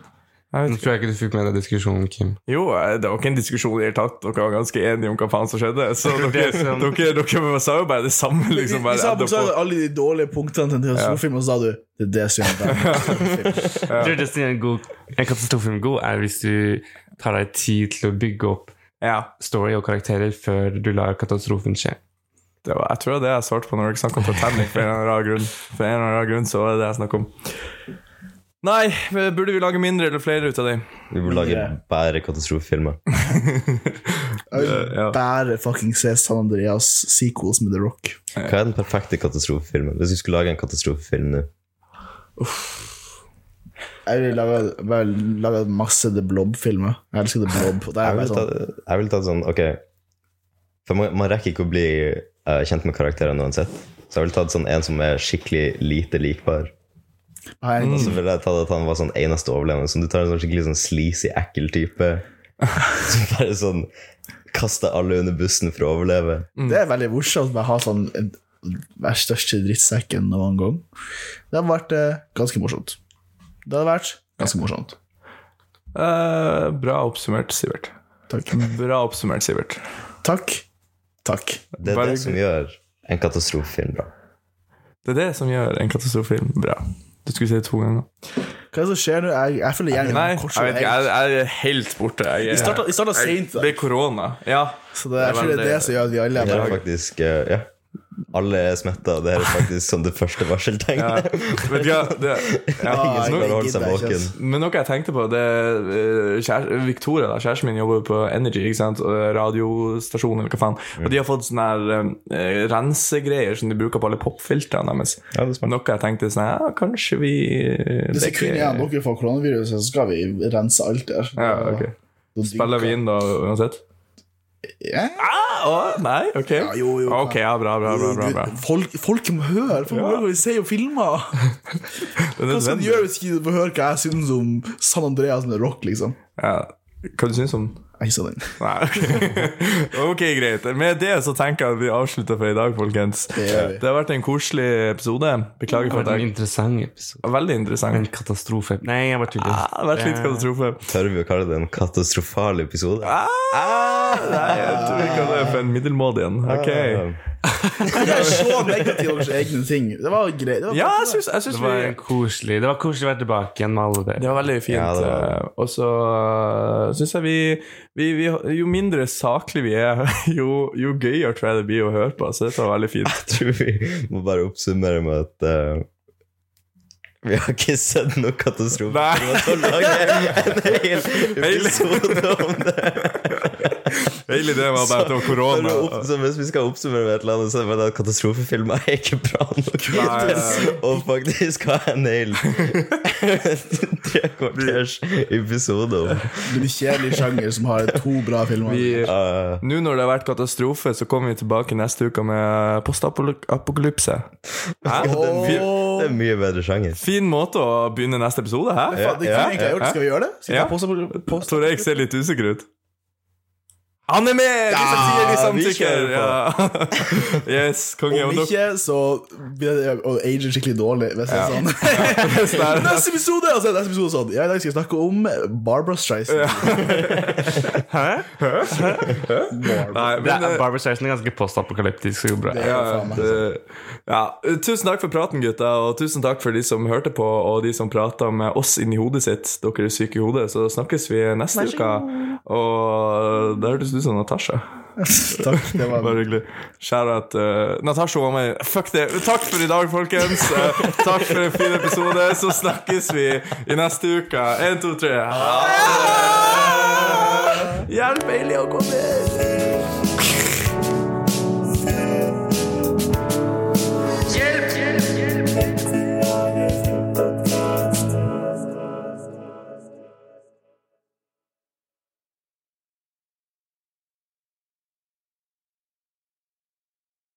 S1: Jeg vet
S3: Nå
S1: ikke.
S3: tror jeg ikke du fikk med deg diskusjonen, Kim.
S1: Jo, eh, det var ikke en diskusjon i det hele tatt. Dere var ganske enige om hva faen som skjedde. Så dere,
S3: Det som-
S1: dere, dere sa jo bare det samme, liksom.
S2: Vi
S1: Bare,
S2: sa
S1: edda på.
S2: bokstavelig alle de dårlige punktene til en katastrofefilm, og så sa du det er det som gjør det.
S3: Jeg tror det som gjør en, god, en katastrofefilm god, er hvis du tar deg tid til å bygge opp
S1: ja,
S3: story og karakterer før du lar katastrofen skje.
S1: det var, jeg tror det er det jeg svarte på når dere snakket om Titanic, for en eller annen grunn. For en eller annen grunn så var det det jeg snakket om. Nei, men burde vi lage mindre eller flere ut av dem?
S4: Vi burde lage
S2: Ja.
S4: bare katastrofefilmer.
S2: Jeg vil
S1: Ja.
S2: bare fucking se San Andreas sequels med The Rock.
S4: Hva er den perfekte katastrofefilmen? Hvis vi skulle lage en katastrofefilm nå
S2: Jeg vil lage, vel, lage masse The Blob-filmer. Jeg elsker The Blob. og det er bare
S4: Jeg ville
S2: sånn,
S4: tatt, jeg ville tatt sånn Ok. For man, man rekker ikke å bli eh, kjent med karakterene uansett. Så jeg ville tatt sånn en som er skikkelig lite likbar.
S2: her,
S1: Mm,
S4: Og så ville jeg tatt at han var sånn eneste overlevende. Sånn, du tar en sånn skikkelig sånn sleazy, ekkel type som bare sånn kaster alle under bussen for å overleve.
S1: mm.
S2: Det er veldig morsomt å ha sånn en- Vær største drittsekken noen gang. Det hadde vært eh, ganske morsomt. Det hadde vært ganske morsomt.
S1: Eh, bra oppsummert, Sivert.
S2: Takk.
S1: Bra oppsummert, Sivert.
S2: Takk. Takk.
S4: Det er
S1: Bare-
S4: det som gjør en katastrofefilm bra.
S1: Det er det som gjør en katastrofefilm bra. Du skulle si det to ganger.
S2: Hva er det som skjer nå? Jeg, jeg føler gjengen
S1: Nei, jeg
S2: kort-
S1: vet ikke. Jeg, jeg er helt borte. Jeg,
S2: Vi starta- Vi starta
S1: Jeg-
S2: sent, da.
S1: Det er korona. Ja.
S2: så det, jeg føler det er det som gjør at vi alle
S4: Det
S2: er
S4: er
S2: bare
S4: faktisk eh, Ja. alle er smitta. Det her er faktisk som det første varseltegnet.
S1: Vet du hva, det, ja,
S2: Ah,
S1: nå-
S2: jeg
S4: Bare holde seg
S2: gidder ikke,
S4: våken.
S2: ass.
S1: Men noe jeg tenkte på det, eh, kjære, Victoria, da, kjæresten min, jobber på Energy, ikke sant? Eh, radiostasjon eller hva faen. Og de har fått sånne her, eh, rensegreier som de bruker på alle popfiltrene deres.
S4: Ja, det er smart.
S1: Noe jeg tenkte sånn ja, Kanskje vi eh,
S2: Hvis
S1: det er
S2: det kun
S1: ikke-
S2: er dere får koronaviruset, så skal vi rense alt der.
S1: Ja, ok.
S2: Da
S1: Spiller vi
S2: dynker-
S1: inn da uansett?
S2: Ja.
S1: Ah, å, nei, ok.
S2: Ja, jo, jo,
S1: ok, ja, bra, bra, bra, bra, bra.
S2: Folk, folk må høre! Folk må høre hva vi sier og filmer!
S1: Det er
S2: Hva skal
S1: nødvendig.
S2: du gjøre hvis ikke du får høre hva jeg syns om San Andreas med rock, liksom?
S1: Ja. Hva du synes om
S2: Jeg sa den.
S1: Nei, ok. ok, greit. Med det så tenker jeg at vi avslutter for i dag, folkens.
S2: Det gjør vi.
S1: Det har vært en koselig episode. Beklager
S3: Det
S1: for
S3: var
S1: at
S3: en
S1: jeg
S3: interessant episode.
S1: Veldig
S3: En
S1: interessant.
S3: katastrofe. Nei, jeg bare tuller.
S1: Ah, det har vært litt katastrofe.
S4: Tør vi å kalle det en katastrofal episode?
S1: Ah, nei, jeg tror vi kaller det for en middelmådig en. Ok.
S2: Ah. Jeg er så negativ over sine egne ting. Det var greit. Det var
S1: Ja, jeg syns, jeg syns
S3: Det
S1: vi
S3: var en koselig Det var koselig å være tilbake igjen med alle
S1: Det
S3: dere.
S1: var veldig fint.
S4: Ja, det var det.
S1: eh, Og så eh, syns jeg vi, vi, vi Jo mindre saklig vi er, jo, jo gøyere tror jeg det blir å høre på. Så dette var veldig fint.
S4: Jeg tror vi må bare oppsummere med at eh, vi har ikke sett noe katastrofe.
S1: Nei.
S4: Det var så lang en hel episode om det.
S1: Hele ideen var bare at det var korona.
S4: Bare opp- så Hvis vi skal oppsummere med et eller annet, så er det bare at katastrofefilmer er ikke bra nok.
S1: Nei, nei,
S4: Å faktisk ha en hel tre kvarters episode om
S2: en kjedelig sjanger som har to bra filmer.
S1: Vi,
S4: eh,
S1: Nå når det har vært katastrofe, så kommer vi tilbake neste uke med postapokalypse. Hæ?
S2: Åh.
S1: Fin,
S4: Det er en mye bedre sjanger.
S1: fin måte å begynne neste episode, hæ?
S2: Faen, det kunne egentlig jeg gjort. Skal vi gjøre det? Skal vi
S1: Ja.
S2: ta pause på- på-
S1: Tor Eik ser litt usikker ut. Han er med! De som
S2: Ja,
S1: sier de
S4: vi
S1: samtykker! Ja. Yes, konge.
S2: Om
S1: Og dere-
S2: ikke, så blir det å age skikkelig dårlig. Hvis det er sånn Neste episode! Og så er neste episode sånn. Ja, I dag skal vi snakke om Barbara Streisand.
S1: Nei,
S3: Det
S1: men,
S3: er,
S1: eh,
S3: Barbara Streisand er ganske postapokalyptisk. så det går bra.
S2: Ja,
S1: ja,
S2: faen meg.
S1: det- ja. Tusen takk for praten, gutta, og tusen takk for de som hørte på, og de som prata med oss inni hodet sitt. Dere er syke i hodet, så snakkes vi neste uke. Og det hørtes ut som Natasha.
S2: Takk, det var
S1: Bare hyggelig. Kjære at eh, Natasha var med. Fuck det. Takk for i dag, folkens. Eh, takk for en fin episode. Så snakkes vi i neste uke. Én, to, tre. Ha det! Hjelp Eilig å komme!